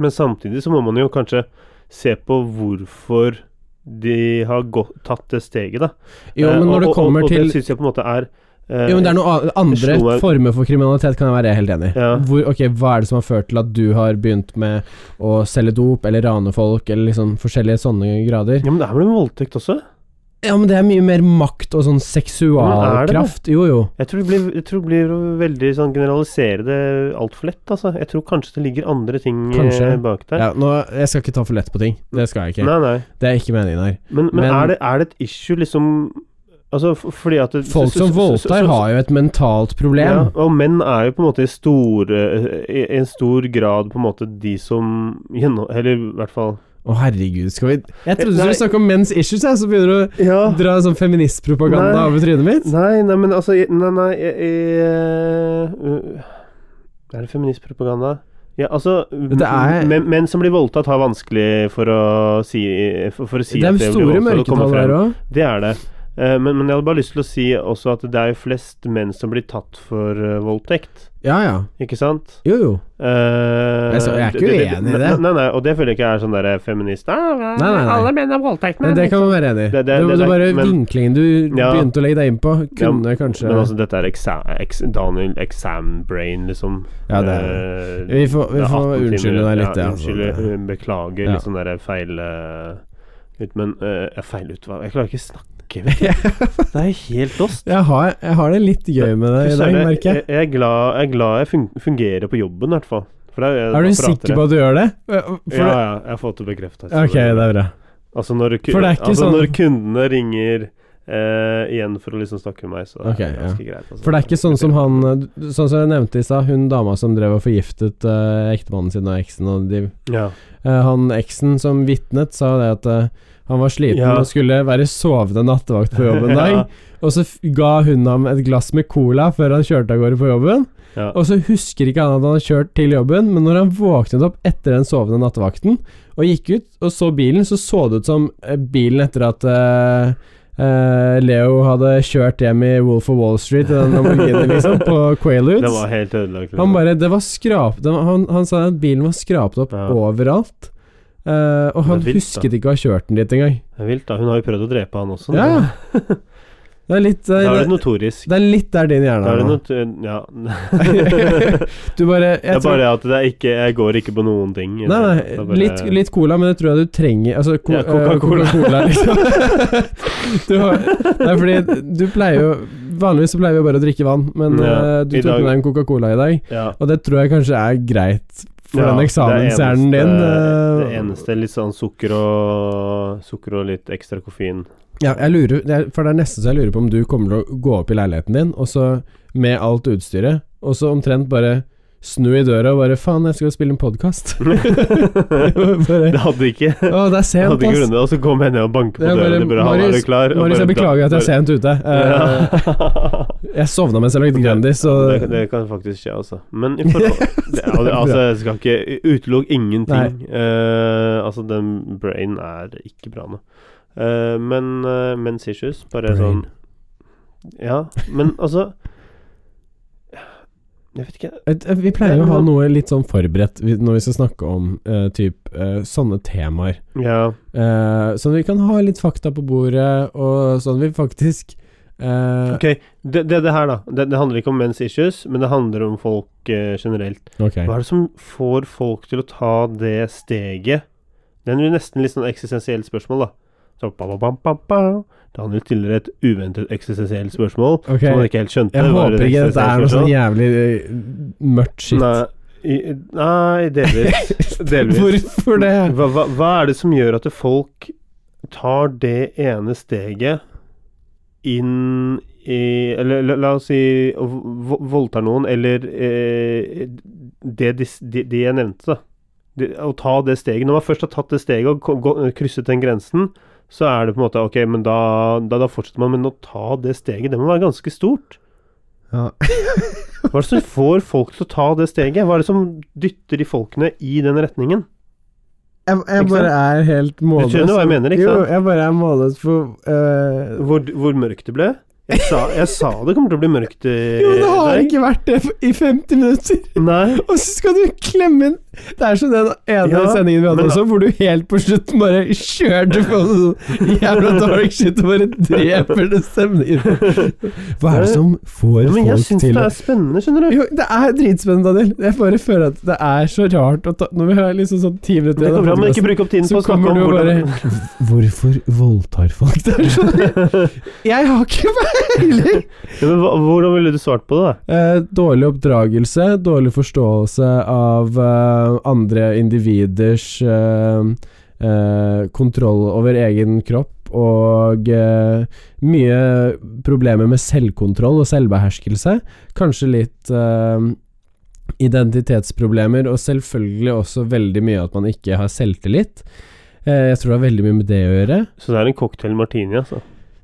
Speaker 2: Men samtidig så må man jo kanskje se på hvorfor de har gått, tatt det steget, da.
Speaker 1: Jo,
Speaker 2: Eh,
Speaker 1: men når
Speaker 2: og-
Speaker 1: det
Speaker 2: og-
Speaker 1: kommer
Speaker 2: og, og,
Speaker 1: til
Speaker 2: Det syns jeg på en måte er eh,
Speaker 1: Jo, men det er noen andre
Speaker 2: slo meg-
Speaker 1: former for kriminalitet, kan jeg være helt enig i.
Speaker 2: Ja.
Speaker 1: Hvor, ok, Hva er det som har ført til at du har begynt med å selge dop, eller rane folk, eller liksom forskjellige sånne grader?
Speaker 2: Ja, men det er vel en voldtekt også?
Speaker 1: Ja, men det er mye mer makt og sånn
Speaker 2: Men er det
Speaker 1: seksualkraft. Jo, jo.
Speaker 2: Jeg tror det blir, jeg tror det blir å veldig sånn generalisere det altfor lett, altså. Jeg tror kanskje det ligger andre ting eh,
Speaker 1: Kanskje.
Speaker 2: bak der.
Speaker 1: Ja, nå, jeg skal ikke ta for lett på ting. Det skal jeg ikke.
Speaker 2: Nei, nei.
Speaker 1: Det er ikke meningen her.
Speaker 2: Men, men,
Speaker 1: Men-
Speaker 2: er, det, er det et issue, liksom Altså, f- fordi at det,
Speaker 1: Folk som voldtar, har jo et mentalt
Speaker 2: Ja,
Speaker 1: problem.
Speaker 2: og menn er jo på en måte i stor, eh, i, i en stor grad på en måte de som gjennom... Eller i hvert fall
Speaker 1: Å, herregud, skal vi Jeg trodde du
Speaker 2: Nei.
Speaker 1: skulle snakke om men's issues, jeg, så begynner du
Speaker 2: Ja.
Speaker 1: å dra sånn feministpropaganda
Speaker 2: Nei.
Speaker 1: over trynet mitt.
Speaker 2: Nei, nei, men altså jeg- Nei, nei, jeg, jeg øh, Er det feministpropaganda? Ja, altså
Speaker 1: er-
Speaker 2: men, Menn som blir voldtatt, har vanskelig for å si For, for å si
Speaker 1: Det
Speaker 2: at
Speaker 1: er
Speaker 2: det blir
Speaker 1: store
Speaker 2: voldtatt, og komme
Speaker 1: mørketall
Speaker 2: frem.
Speaker 1: der òg.
Speaker 2: Det er det. Eh, Men, men jeg hadde bare lyst til å si også at det er jo flest menn som blir tatt for eh, voldtekt,
Speaker 1: Ja, ja.
Speaker 2: ikke sant?
Speaker 1: Jo, jo.
Speaker 2: Eh,
Speaker 1: Jeg så- jeg er ikke uenig i det.
Speaker 2: Nei, nei, nei, og det føler jeg ikke er sånn derre feminist ah, nei,
Speaker 1: Nei, nei, nei.
Speaker 2: Alle menn er voldtektsmenn.
Speaker 1: Men det kan man være enig i.
Speaker 2: Det- det-
Speaker 1: Det var
Speaker 2: det- det-
Speaker 1: bare
Speaker 2: men-
Speaker 1: vinklingen du
Speaker 2: Ja.
Speaker 1: begynte å legge deg inn på, kunne kanskje
Speaker 2: Men altså, dette er eksa- ex- Daniel exam-brain, liksom.
Speaker 1: Ja, det er
Speaker 2: Eh,
Speaker 1: Vi får, vi
Speaker 2: det er
Speaker 1: får
Speaker 2: 18
Speaker 1: unnskylde
Speaker 2: timer.
Speaker 1: deg litt,
Speaker 2: ja.
Speaker 1: ja. Altså,
Speaker 2: Unnskyld, eh, beklager,
Speaker 1: Ja.
Speaker 2: litt sånn derre feil eh, ut, Men eh, jeg feil ut hva Jeg klarer ikke å snakke, vet du. Det er helt lost.
Speaker 1: Jeg har, jeg har det litt gøy med deg i dag,
Speaker 2: Søren,
Speaker 1: merker jeg.
Speaker 2: jeg, jeg, er glad, jeg er glad jeg fun- fungerer på jobben, i hvert fall. For da- da
Speaker 1: Er du
Speaker 2: prater
Speaker 1: sikker
Speaker 2: jeg.
Speaker 1: på at du gjør det? Eh, For
Speaker 2: Ja,
Speaker 1: det
Speaker 2: ja. Jeg har fått det bekrefta.
Speaker 1: ok, det er bra.
Speaker 2: Altså, når, ku-
Speaker 1: For det er ikke
Speaker 2: altså
Speaker 1: sånn-
Speaker 2: når kundene ringer eh, igjen for å liksom snakke med meg, så
Speaker 1: Ok,
Speaker 2: er det ganske greit. Altså.
Speaker 1: For det er ikke sånn som han Sånn som jeg nevnte i stad, hun dama som drev og forgiftet eh, ektemannen sin og eksen og de
Speaker 2: ja.
Speaker 1: Eh, Han eksen som vitnet, sa det at eh, han var sliten
Speaker 2: Ja.
Speaker 1: og skulle være sovende nattevakt på jobb en dag.
Speaker 2: Ja.
Speaker 1: Og så f- ga hun ham et glass med cola før han kjørte av gårde på jobben.
Speaker 2: Ja.
Speaker 1: Og så husker ikke han at han hadde kjørt til jobben, men når han våknet opp etter den sovende nattevakten og gikk ut og så bilen, så så det ut som eh, bilen etter at eh, eh, Leo hadde kjørt hjem i Wolf of Wall Street i den Lamborghini, liksom, på Quaaludes.
Speaker 2: Det var helt ødelagt. liksom.
Speaker 1: Han bare Det var skrapt det var- han, han sa at bilen var skrapt opp
Speaker 2: Ja.
Speaker 1: overalt. eh, og han
Speaker 2: Det er vilt,
Speaker 1: husket ikke å ha kjørt den dit engang.
Speaker 2: Det er vilt, da. Hun har jo prøvd å drepe han også.
Speaker 1: Ja, ja. Det er litt eh, det
Speaker 2: Da er
Speaker 1: er,
Speaker 2: det notorisk.
Speaker 1: det er litt der din
Speaker 2: Da
Speaker 1: hjerne
Speaker 2: er
Speaker 1: er
Speaker 2: det
Speaker 1: nå.
Speaker 2: not ja. det
Speaker 1: Du bare
Speaker 2: er
Speaker 1: jeg tror,
Speaker 2: bare det at det er ikke Jeg går ikke på noen ting.
Speaker 1: Nei,
Speaker 2: Det
Speaker 1: nei.
Speaker 2: er bare-
Speaker 1: Litt, litt cola, men det tror jeg du trenger Altså co
Speaker 2: Ja, Coca-Cola.
Speaker 1: eh, Coca-Cola, liksom. du har, nei, fordi du pleier jo Vanligvis så pleier vi bare å drikke vann, men
Speaker 2: Ja,
Speaker 1: eh, du
Speaker 2: i
Speaker 1: tok
Speaker 2: dag-
Speaker 1: med deg en Coca-Cola i dag,
Speaker 2: Ja.
Speaker 1: og det tror jeg kanskje er greit for
Speaker 2: Ja,
Speaker 1: den
Speaker 2: det er
Speaker 1: eksamenshjernen
Speaker 2: eneste-
Speaker 1: din. eh,
Speaker 2: Det eneste litt sånn sukker og Sukker og litt ekstra koffein.
Speaker 1: Ja, jeg lurer, det er, for det er nesten så jeg lurer på om du kommer til å gå opp i leiligheten din, og så med alt utstyret, og så omtrent bare snu i døra og bare Faen, jeg skal spille en podkast.
Speaker 2: det
Speaker 1: bare
Speaker 2: hadde ikke
Speaker 1: Å, det er
Speaker 2: jeg hadde
Speaker 1: sent,
Speaker 2: ikke
Speaker 1: ass.
Speaker 2: grunnet, og så kom jeg ned og banket på
Speaker 1: Det er
Speaker 2: døra.
Speaker 1: bare,
Speaker 2: de bare, han, er
Speaker 1: Marius-
Speaker 2: du klar? Og
Speaker 1: Marius, jeg
Speaker 2: bare-
Speaker 1: beklager at jeg er sent ute. Eh,
Speaker 2: Ja.
Speaker 1: jeg sovna mens jeg lagde Grandis, så
Speaker 2: det, det kan faktisk skje, altså. Men i forhold det, al- Altså, jeg skal ikke utelukke ingenting. Eh, altså, den brain er ikke bra nå. Eh, men uh, mens issues, bare
Speaker 1: Brain.
Speaker 2: sånn Ja, men altså Jeg vet ikke
Speaker 1: Et- eh, Vi pleier jo å ha noe litt sånn forberedt vi- når vi skal snakke om eh, typ eh, sånne temaer.
Speaker 2: Ja.
Speaker 1: Eh, sånn at vi kan ha litt fakta på bordet, og sånn vi faktisk eh,
Speaker 2: Ok, det, det, det her, da. Det, det handler ikke om mens issues, men det handler om folk eh, generelt.
Speaker 1: ok.
Speaker 2: Hva er det som får folk til å ta det steget? Det er jo nesten litt sånn eksistensielt spørsmål, da. Så, ba, ba, bam, bam, bam. Daniel stiller et uventet eksistensielt spørsmål
Speaker 1: Ok.
Speaker 2: som han Sånn ikke helt skjønte.
Speaker 1: Jeg
Speaker 2: var et
Speaker 1: håper ikke dette er noe sånn
Speaker 2: eksistensielt
Speaker 1: jævlig eh, mørkt
Speaker 2: spørsmål.
Speaker 1: shit.
Speaker 2: Nei, i, nei, delvis. delvis.
Speaker 1: Hvorfor det?
Speaker 2: Hva, hva, hva er det som gjør at folk tar det ene steget inn i Eller la, la oss si vo- voldtar noen, eller eh, det de, s- de, de jeg nevnte, da. Det, å ta det steget. Når man først har tatt det steget og ko- gå- krysset den grensen, så er det på en måte Ok, men da, da, da fortsetter man. Men å ta det steget, det må være ganske stort.
Speaker 1: Ja.
Speaker 2: Hva er det som får folk til å ta det steget? Hva er det som dytter de folkene i den retningen?
Speaker 1: Jeg, jeg
Speaker 2: Ikke
Speaker 1: bare er helt
Speaker 2: Du
Speaker 1: målløs.
Speaker 2: skjønner hva jeg mener, ikke
Speaker 1: Jo,
Speaker 2: sant?
Speaker 1: jeg bare er målløs for eh,
Speaker 2: Hvor, hvor mørkt det ble? Jeg sa, jeg sa det kommer til å bli mørkt eh,
Speaker 1: Jo, det har
Speaker 2: der.
Speaker 1: ikke vært det i 50 minutter!
Speaker 2: Nei.
Speaker 1: Og så skal du klemme inn Det er som den ene
Speaker 2: Ja,
Speaker 1: sendingen vi hadde
Speaker 2: men-
Speaker 1: også, hvor du helt på slutten bare kjørte på sånn jævla dark shit og bare dreper den stemningen. Hva er det som får
Speaker 2: Ja, men jeg
Speaker 1: folk
Speaker 2: syns det
Speaker 1: til å
Speaker 2: er spennende, skjønner du.
Speaker 1: Jo, det er dritspennende, Daniel. Jeg bare føler at det er så rart å ta Når vi har liksom sånn ti minutter
Speaker 2: Det går
Speaker 1: igjen
Speaker 2: bra,
Speaker 1: av
Speaker 2: men ikke
Speaker 1: podcasten,
Speaker 2: bruk opp tiden på
Speaker 1: så
Speaker 2: å snakke
Speaker 1: kommer
Speaker 2: om
Speaker 1: du og
Speaker 2: hvordan
Speaker 1: bare Hvorfor voldtar folk det? er sånn- Jeg har ikke peiling!
Speaker 2: ja, men, hva- Hvordan ville du svart på det, da?
Speaker 1: Eh, dårlig oppdragelse, dårlig forståelse av eh, andre individers eh, eh, kontroll over egen kropp og eh, mye problemer med selvkontroll og selvbeherskelse. Kanskje litt eh, identitetsproblemer, og selvfølgelig også veldig mye at man ikke har selvtillit. Eh, Jeg tror det har veldig mye med det å gjøre.
Speaker 2: Så det er en cocktail martini, altså.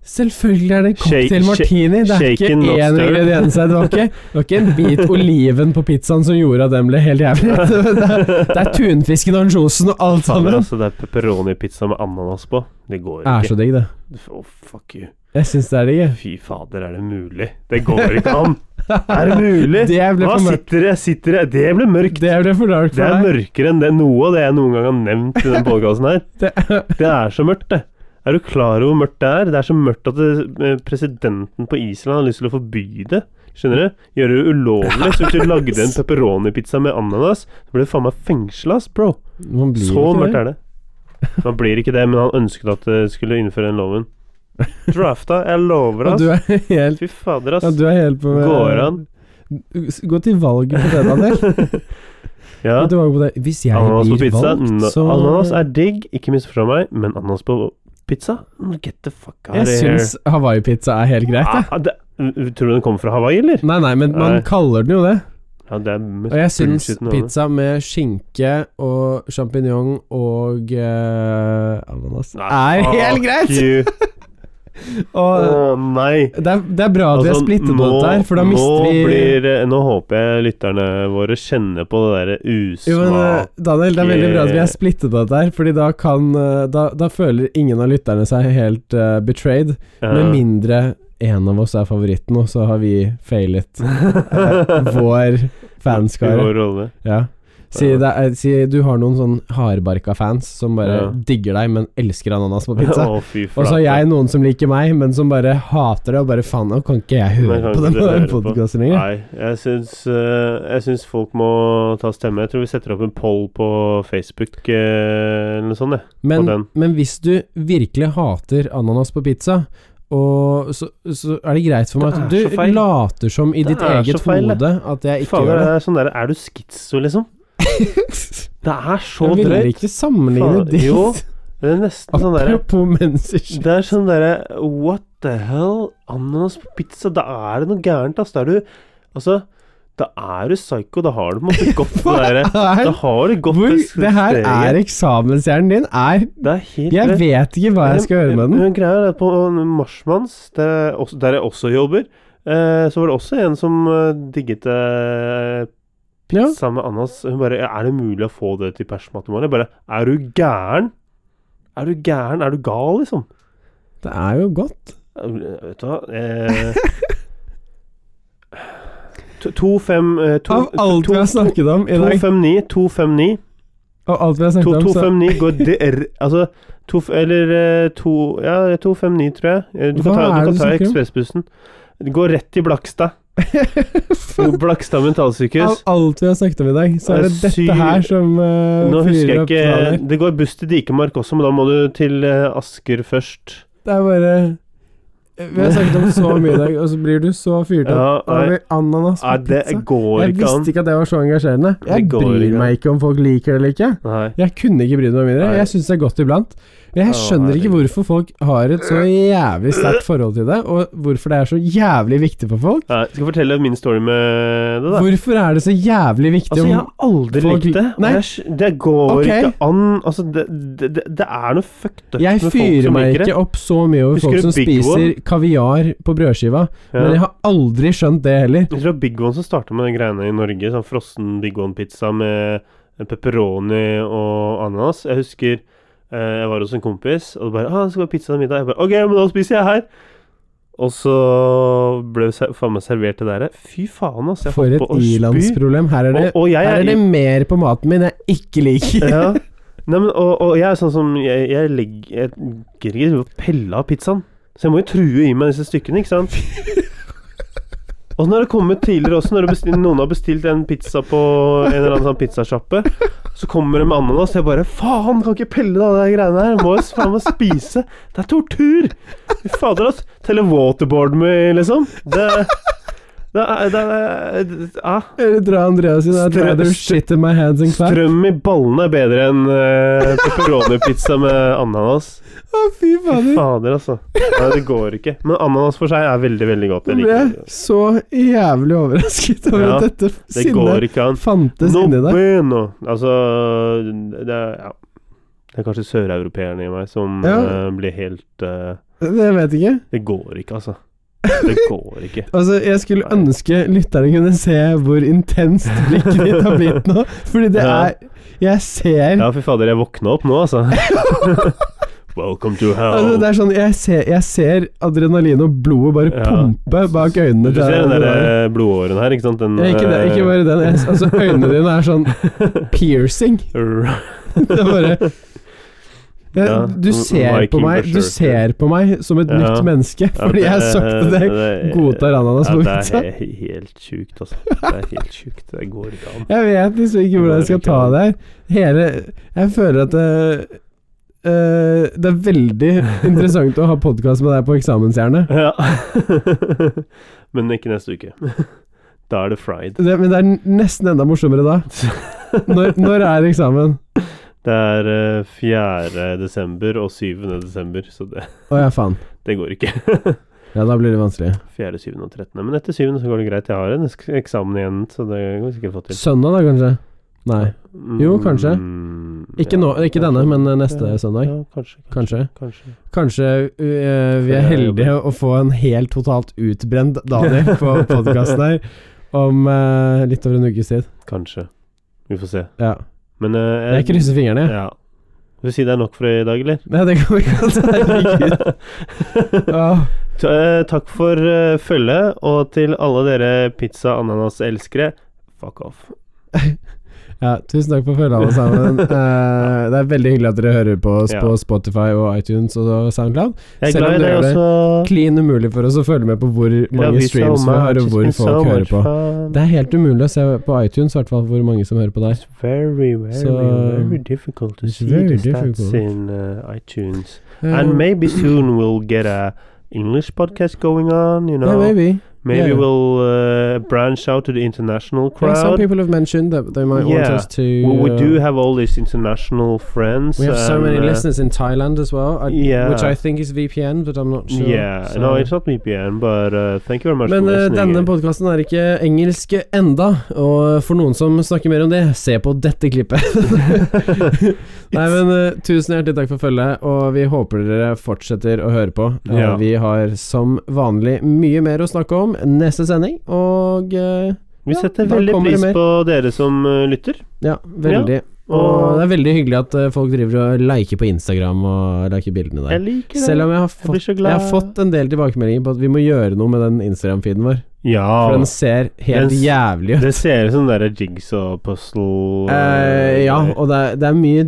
Speaker 1: Selvfølgelig er det
Speaker 2: Shake-
Speaker 1: cocktail
Speaker 2: shake-
Speaker 1: martini. Det er ikke
Speaker 2: shaken, not
Speaker 1: én
Speaker 2: stirred.
Speaker 1: ingrediens her. Det var ikke, det var ikke en bit oliven på pizzaen som gjorde at den ble helt jævlig. Det er, det er tunfisken og ansjosen og alt
Speaker 2: Faen,
Speaker 1: sammen.
Speaker 2: altså, det er pepperoni-pizza med ananas på. Det går
Speaker 1: Det er
Speaker 2: ikke.
Speaker 1: så digg, det.
Speaker 2: Å, fuck you.
Speaker 1: Jeg syns det er digg. jeg.
Speaker 2: Fy fader, er det mulig? Det går ikke an! Er det mulig?
Speaker 1: Det ble
Speaker 2: Hva
Speaker 1: for mørkt.
Speaker 2: sitter det? Sitter det? Det ble mørkt.
Speaker 1: Det ble for dark
Speaker 2: Det er
Speaker 1: for deg.
Speaker 2: mørkere enn det noe av det jeg noen gang har nevnt i den podkasten her.
Speaker 1: Det-
Speaker 2: Det er så mørkt, det. Er du klar over hvor mørkt det er? Det er så mørkt at det, presidenten på Island har lyst til å forby det. Skjønner du? Gjøre det ulovlig. Så hvis du lagde en pepperoni-pizza med ananas, så ble du faen meg fengsla, ass, bro.
Speaker 1: Man blir
Speaker 2: Så
Speaker 1: ikke
Speaker 2: mørkt
Speaker 1: det.
Speaker 2: er det. Man blir ikke det, men han ønsket at det skulle innføre den loven. Drafta, jeg lover,
Speaker 1: Og
Speaker 2: ass.
Speaker 1: du er helt,
Speaker 2: Fy fader,
Speaker 1: ja,
Speaker 2: ass.
Speaker 1: du er helt på
Speaker 2: Går an?
Speaker 1: Gå til valget på det, Daniel.
Speaker 2: Ja.
Speaker 1: Gå til valget på det. Hvis jeg
Speaker 2: Ananas på
Speaker 1: blir
Speaker 2: pizza?
Speaker 1: valgt,
Speaker 2: No.
Speaker 1: så
Speaker 2: Ananas er digg, ikke misforstå meg, men ananas på pizza? Mm, Get the fuck out
Speaker 1: Jeg
Speaker 2: of here.
Speaker 1: syns hawaiipizza er helt greit, jeg.
Speaker 2: Ah, det, tror du den kommer fra Hawaii, eller?
Speaker 1: Nei, nei, men man
Speaker 2: Nei.
Speaker 1: kaller den jo det.
Speaker 2: Ja, det er mest
Speaker 1: Og jeg syns
Speaker 2: bullshitten av det.
Speaker 1: pizza med skinke og sjampinjong og eh, ananas
Speaker 2: Nei,
Speaker 1: er helt
Speaker 2: Ah, fuck
Speaker 1: greit!
Speaker 2: you. Å
Speaker 1: Og
Speaker 2: nei.
Speaker 1: Eh, det er, det er bra at vi har
Speaker 2: Altså,
Speaker 1: splittet
Speaker 2: nå-
Speaker 1: opp der, for da mister
Speaker 2: nå
Speaker 1: vi
Speaker 2: Blir, nå håper jeg lytterne våre kjenner på det derre
Speaker 1: jo, men, eh,
Speaker 2: usmak...
Speaker 1: Daniel, det er veldig bra at vi har splittet opp der, Fordi da kan eh, Da, da føler ingen av lytterne seg helt eh, betrayed. Med mindre en av oss er favoritten, og så har vi failet eh, vår fanskare.
Speaker 2: Vår rolle.
Speaker 1: Ja. Si,
Speaker 2: Ja.
Speaker 1: det er, si du har noen sånn hardbarka fans som bare
Speaker 2: Ja.
Speaker 1: digger deg, men elsker ananas på pizza.
Speaker 2: Å, fy
Speaker 1: Og så har
Speaker 2: flate.
Speaker 1: jeg noen som liker meg, men som bare hater det og bare faen, nå kan ikke jeg høre
Speaker 2: Nei, kan
Speaker 1: på den,
Speaker 2: ikke du
Speaker 1: den
Speaker 2: høre på.
Speaker 1: podkasten lenger.
Speaker 2: Nei, jeg syns, eh, jeg syns folk må ta stemme. Jeg tror vi setter opp en poll på Facebook eh, eller noe sånt. jeg. på
Speaker 1: Men,
Speaker 2: den.
Speaker 1: men hvis du virkelig hater ananas på pizza, og så, så er det greit for meg
Speaker 2: Det
Speaker 1: at
Speaker 2: er så
Speaker 1: du
Speaker 2: feil.
Speaker 1: later som i
Speaker 2: Det
Speaker 1: ditt
Speaker 2: er så
Speaker 1: eget
Speaker 2: feil, det.
Speaker 1: hode at jeg ikke
Speaker 2: Faen,
Speaker 1: gjør det.
Speaker 2: det er sånn der, er du skitso, liksom? Det er så
Speaker 1: Jeg ville
Speaker 2: drøyt.
Speaker 1: ikke sammenligne
Speaker 2: Faen, jo,
Speaker 1: ditt
Speaker 2: Det er nesten sånn derre
Speaker 1: Apropos mennesker.
Speaker 2: Det er sånn derre What the hell? Ananas på pizza? Da er det noe gærent, ass. Da er du Altså, da er du psycho. Da har du på en måte gått Sånn det derre Da har du gått
Speaker 1: Hvor, det her
Speaker 2: steget.
Speaker 1: er eksamenshjernen din. Er
Speaker 2: Det er helt
Speaker 1: Jeg
Speaker 2: drøyt.
Speaker 1: vet ikke hva jeg skal gjøre med den.
Speaker 2: Men greia er at på Marsmanns, der, jeg også- der jeg også jobber, eh, så var det også en som eh, digget eh,
Speaker 1: Ja.
Speaker 2: pizza med ananas. Hun bare "Ja, Er det mulig å få det til persmat i morgen? Jeg bare Er du gæren? Er du gæren? Er du gal, liksom?
Speaker 1: Det er jo godt.
Speaker 2: Eh, Vet du hva eh, to- To fem eh, to-
Speaker 1: Av alt
Speaker 2: to-
Speaker 1: vi har snakket om i
Speaker 2: to-
Speaker 1: dag,
Speaker 2: 259, 259
Speaker 1: av alt vi har snakket om, så
Speaker 2: 2259 går det er, Altså to, Eller eh, to, Ja, 259, tror jeg. Eh, Du kan
Speaker 1: Hva
Speaker 2: ta,
Speaker 1: er
Speaker 2: du
Speaker 1: det
Speaker 2: kan
Speaker 1: du
Speaker 2: ta
Speaker 1: snakker om?
Speaker 2: ekspressbussen. Det går rett til Blakstad. Blakstad
Speaker 1: Av
Speaker 2: mentalsykehus.
Speaker 1: alt vi har snakket om i dag, så er det
Speaker 2: Det er
Speaker 1: dette her som eh,
Speaker 2: Nå husker
Speaker 1: fyrer
Speaker 2: jeg
Speaker 1: opp planer.
Speaker 2: ikke Det går buss til Dikemark også, men da må du til eh, Asker først.
Speaker 1: Det er bare Vi har snakket om så mye i dag, og så blir du så fyrt opp.
Speaker 2: Ja,
Speaker 1: Over
Speaker 2: nei,
Speaker 1: ananas
Speaker 2: nei,
Speaker 1: på
Speaker 2: det
Speaker 1: pizza.
Speaker 2: går
Speaker 1: Jeg
Speaker 2: ikke an.
Speaker 1: visste ikke at det var så engasjerende. Jeg
Speaker 2: Det går
Speaker 1: bryr
Speaker 2: ikke an.
Speaker 1: meg ikke om folk liker det eller ikke.
Speaker 2: Nei.
Speaker 1: Jeg kunne ikke brydd meg mindre.
Speaker 2: Nei.
Speaker 1: Jeg syns det er godt iblant. Jeg
Speaker 2: Å,
Speaker 1: skjønner ikke
Speaker 2: herregud.
Speaker 1: hvorfor folk har et så jævlig sterkt forhold til det, og hvorfor det er så jævlig viktig for folk.
Speaker 2: Nei, skal jeg fortelle min story med det, da.
Speaker 1: Hvorfor er det så jævlig viktig
Speaker 2: Altså, jeg
Speaker 1: om
Speaker 2: har aldri
Speaker 1: Folk-
Speaker 2: likt det. og
Speaker 1: Nei.
Speaker 2: jeg skj- Det går
Speaker 1: Ok.
Speaker 2: ikke an. Altså, det, det, det- det er noe fucked up
Speaker 1: Jeg
Speaker 2: med folk
Speaker 1: fyrer
Speaker 2: som
Speaker 1: meg
Speaker 2: liker det.
Speaker 1: ikke opp så mye over
Speaker 2: Husker
Speaker 1: folk
Speaker 2: du
Speaker 1: som
Speaker 2: Big
Speaker 1: spiser kaviar på brødskiva, men jeg har aldri skjønt det heller.
Speaker 2: Jeg tror det var Big One som starta med de greiene i Norge. Sånn frossen Big One-pizza med pepperoni og ananas. Jeg husker eh, jeg var hos en kompis, og det bare ah, 'Det skal være pizza til middag.' Jeg bare 'OK, men da spiser jeg her'. Og så ble vi se- faen meg servert det derre. Fy faen, altså. Jeg
Speaker 1: For
Speaker 2: holdt
Speaker 1: et
Speaker 2: på å spy.
Speaker 1: ilandsproblem. Her er det,
Speaker 2: Og, og jeg
Speaker 1: her er det mer på maten min jeg ikke liker.
Speaker 2: ja. Nei, men, og, og jeg er sånn som Jeg, jeg legger Jeg gidder ikke drive og pelle av pizzaen. Så jeg må jo true i meg disse stykkene, ikke sant? Og så når det kommer tidligere også, når det bestill, noen har bestilt en pizza på en eller annen sånn pizzasjappe, så kommer det med ananas, og jeg bare Faen, kan ikke pelle av de greiene her. Må jo faen meg spise. Det er tortur. Fy Fader, ass. Telle waterboard med, liksom. Det, det, er- det, er- det, det ah.
Speaker 1: Eller Dra Andreas sin I'd
Speaker 2: Strø-
Speaker 1: rather
Speaker 2: strø-
Speaker 1: shit in my hands and clap.
Speaker 2: Strøm i ballene er bedre enn uh, pepperoni-pizza med ananas.
Speaker 1: Å, fy
Speaker 2: Fy
Speaker 1: fader.
Speaker 2: fader, altså. Nei, det går ikke. Men ananas for seg er veldig, veldig godt.
Speaker 1: Nå
Speaker 2: Jeg
Speaker 1: ble
Speaker 2: liker
Speaker 1: jeg
Speaker 2: det.
Speaker 1: så jævlig overrasket over
Speaker 2: Ja,
Speaker 1: at dette
Speaker 2: Det går
Speaker 1: sinnet
Speaker 2: ikke an.
Speaker 1: fantes
Speaker 2: No
Speaker 1: inni deg.
Speaker 2: bueno. Altså det, er- ja. Det er kanskje søreuropeerne i meg som
Speaker 1: Ja.
Speaker 2: eh, blir helt eh,
Speaker 1: Jeg vet ikke.
Speaker 2: Det går ikke, altså. Det går ikke.
Speaker 1: Altså, jeg skulle
Speaker 2: Nei.
Speaker 1: ønske lytterne kunne se hvor intenst blikket ditt har blitt nå. Fordi det
Speaker 2: Ja.
Speaker 1: er Jeg ser
Speaker 2: Ja, fy fader, jeg våkna opp nå, altså. Welcome to
Speaker 1: altså,
Speaker 2: hell.
Speaker 1: Det er sånn Jeg ser, jeg ser adrenalin og blodet bare
Speaker 2: Ja.
Speaker 1: pumpe bak øynene
Speaker 2: Du
Speaker 1: til
Speaker 2: ser den der eh, blodåren her, ikke sant? Den,
Speaker 1: Ja, ikke, det, ikke bare den. Jeg, altså, øynene dine er sånn piercing.
Speaker 2: eh, bare
Speaker 1: Det er bare jeg,
Speaker 2: Ja,
Speaker 1: Du ser
Speaker 2: Viking
Speaker 1: på meg Du
Speaker 2: berserker.
Speaker 1: ser på meg som et
Speaker 2: Ja.
Speaker 1: nytt menneske, fordi jeg søkte deg godtar ananas på
Speaker 2: ja,
Speaker 1: pizza.
Speaker 2: Det er he- helt sjukt, altså. Det er helt sjukt. Det går ikke an.
Speaker 1: Jeg vet liksom ikke hvordan jeg skal ta det her. Hele Jeg føler at det eh, Det er veldig interessant å ha podkast med deg på eksamenshjerne.
Speaker 2: Ja. Men ikke neste uke. Da er det fried.
Speaker 1: Det, men det er nesten enda morsommere da. Når, når er eksamen?
Speaker 2: Det er eh, 4. desember og 7. desember, så det,
Speaker 1: Å ja, faen.
Speaker 2: det går ikke.
Speaker 1: Ja, da blir det vanskelig.
Speaker 2: 4., 7. og 13. Men etter 7. så går det greit. Jeg har en sk- eksamen igjen, så det går vi sikkert få til.
Speaker 1: Søndag da, kanskje? Nei. Jo, kanskje.
Speaker 2: Mm,
Speaker 1: Ikke,
Speaker 2: ja,
Speaker 1: nå, ikke denne,
Speaker 2: kanskje.
Speaker 1: men eh, neste
Speaker 2: Ja,
Speaker 1: søndag.
Speaker 2: Ja, kanskje.
Speaker 1: Kanskje.
Speaker 2: kanskje.
Speaker 1: Kanskje eh, vi er heldige å få en helt totalt utbrent Daniel på podkasten her om eh, litt over en ukes tid.
Speaker 2: Kanskje. Vi får se.
Speaker 1: Ja.
Speaker 2: Men eh,
Speaker 1: Jeg krysser fingrene, jeg.
Speaker 2: Ja. Vil du si det er nok for i dag, eller?
Speaker 1: Ja, det kan vi godt. Herregud. Åh.
Speaker 2: Ta- eh, Takk for eh, følget, og til alle dere pizza-ananas-elskere, fuck off.
Speaker 1: Ja, tusen takk for følget, alle sammen. Eh, det er veldig hyggelig at dere hører på oss
Speaker 2: Ja.
Speaker 1: på Spotify og iTunes og SoundCloud.
Speaker 2: Jeg er
Speaker 1: Selv om
Speaker 2: glad i
Speaker 1: du
Speaker 2: deg
Speaker 1: gjør det.
Speaker 2: også.
Speaker 1: Klin umulig for oss å følge med på hvor
Speaker 2: Love
Speaker 1: mange
Speaker 2: you so
Speaker 1: streams vi har,
Speaker 2: much.
Speaker 1: og
Speaker 2: It's
Speaker 1: hvor
Speaker 2: been so
Speaker 1: folk hører
Speaker 2: much
Speaker 1: på.
Speaker 2: fun.
Speaker 1: Det er helt umulig å se på iTunes, i hvert fall hvor mange som hører på der.
Speaker 2: It's very, very,
Speaker 1: Så,
Speaker 2: very difficult to
Speaker 1: it's
Speaker 2: see
Speaker 1: very
Speaker 2: the stats
Speaker 1: difficult.
Speaker 2: in uh, iTunes.
Speaker 1: Eh,
Speaker 2: And maybe soon we'll get a English podcast going on, you know.
Speaker 1: yeah,
Speaker 2: maybe
Speaker 1: maybe. yeah.
Speaker 2: we'll uh, branch out to the international
Speaker 1: Yeah, some
Speaker 2: crowd.
Speaker 1: people have mentioned that they might want
Speaker 2: Yeah.
Speaker 1: us to.
Speaker 2: we, we do
Speaker 1: uh,
Speaker 2: have all these international friends.
Speaker 1: we have so
Speaker 2: and,
Speaker 1: many
Speaker 2: uh,
Speaker 1: listeners in Thailand as well, I,
Speaker 2: Yeah.
Speaker 1: which I think is VPN, but I'm not sure.
Speaker 2: Yeah,
Speaker 1: so-
Speaker 2: no, it's not VPN, but uh, thank you very much
Speaker 1: Men
Speaker 2: for
Speaker 1: eh,
Speaker 2: listening.
Speaker 1: denne podkasten er ikke engelsk enda, og eh, for noen som snakker mer om det, se på dette klippet. Nei, men eh, tusen hjertelig takk for følget, og vi håper dere fortsetter å høre på. Eh,
Speaker 2: Ja.
Speaker 1: Vi har som vanlig mye mer å snakke om neste sending, og eh,
Speaker 2: Vi
Speaker 1: Ja,
Speaker 2: setter
Speaker 1: da
Speaker 2: veldig
Speaker 1: kommer det
Speaker 2: pris
Speaker 1: mer.
Speaker 2: på dere som uh, lytter.
Speaker 1: ja, veldig. Og
Speaker 2: Og
Speaker 1: det er veldig hyggelig at eh, folk driver og liker på Instagram og liker bildene
Speaker 2: jeg
Speaker 1: der.
Speaker 2: liker det.
Speaker 1: Selv om jeg har,
Speaker 2: jeg blir
Speaker 1: fått,
Speaker 2: så
Speaker 1: jeg
Speaker 2: glad.
Speaker 1: har fått en del tilbakemeldinger på at vi må gjøre noe med den Instagram-feeden vår.
Speaker 2: ja,
Speaker 1: For den ser helt
Speaker 2: Den s-
Speaker 1: jævlig ut.
Speaker 2: det ser ut som der jigsaw-puzzle uh,
Speaker 1: Eh, ja, og det er, det er mye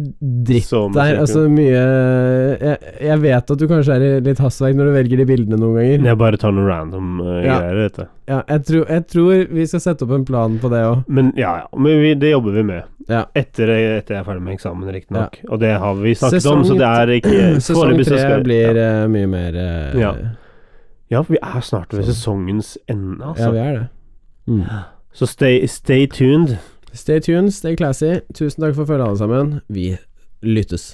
Speaker 1: dritt
Speaker 2: Som
Speaker 1: der.
Speaker 2: sikkert-
Speaker 1: Altså mye jeg, jeg vet at du kanskje er i litt hastverk når du velger de bildene noen ganger.
Speaker 2: Jeg bare tar noen random uh,
Speaker 1: Ja.
Speaker 2: greier, vet du.
Speaker 1: Ja, jeg, tror, jeg tror vi skal sette opp en plan på det òg.
Speaker 2: Men ja, ja. Men vi, det jobber vi med.
Speaker 1: Ja.
Speaker 2: Etter, etter jeg er ferdig med eksamen, riktignok. Og det har vi snakket
Speaker 1: Sesong
Speaker 2: om, så det er ikke
Speaker 1: Sesong
Speaker 2: foreløpig så
Speaker 1: tre
Speaker 2: skal-
Speaker 1: blir
Speaker 2: ja.
Speaker 1: eh, mye mer eh,
Speaker 2: Ja. ja, for vi er snart ved sesongens ende,
Speaker 1: ja,
Speaker 2: altså.
Speaker 1: vi er det. Mm.
Speaker 2: Så stay, stay tuned.
Speaker 1: Stay tuned, stay classy. Tusen takk for følget, alle sammen. Vi lyttes.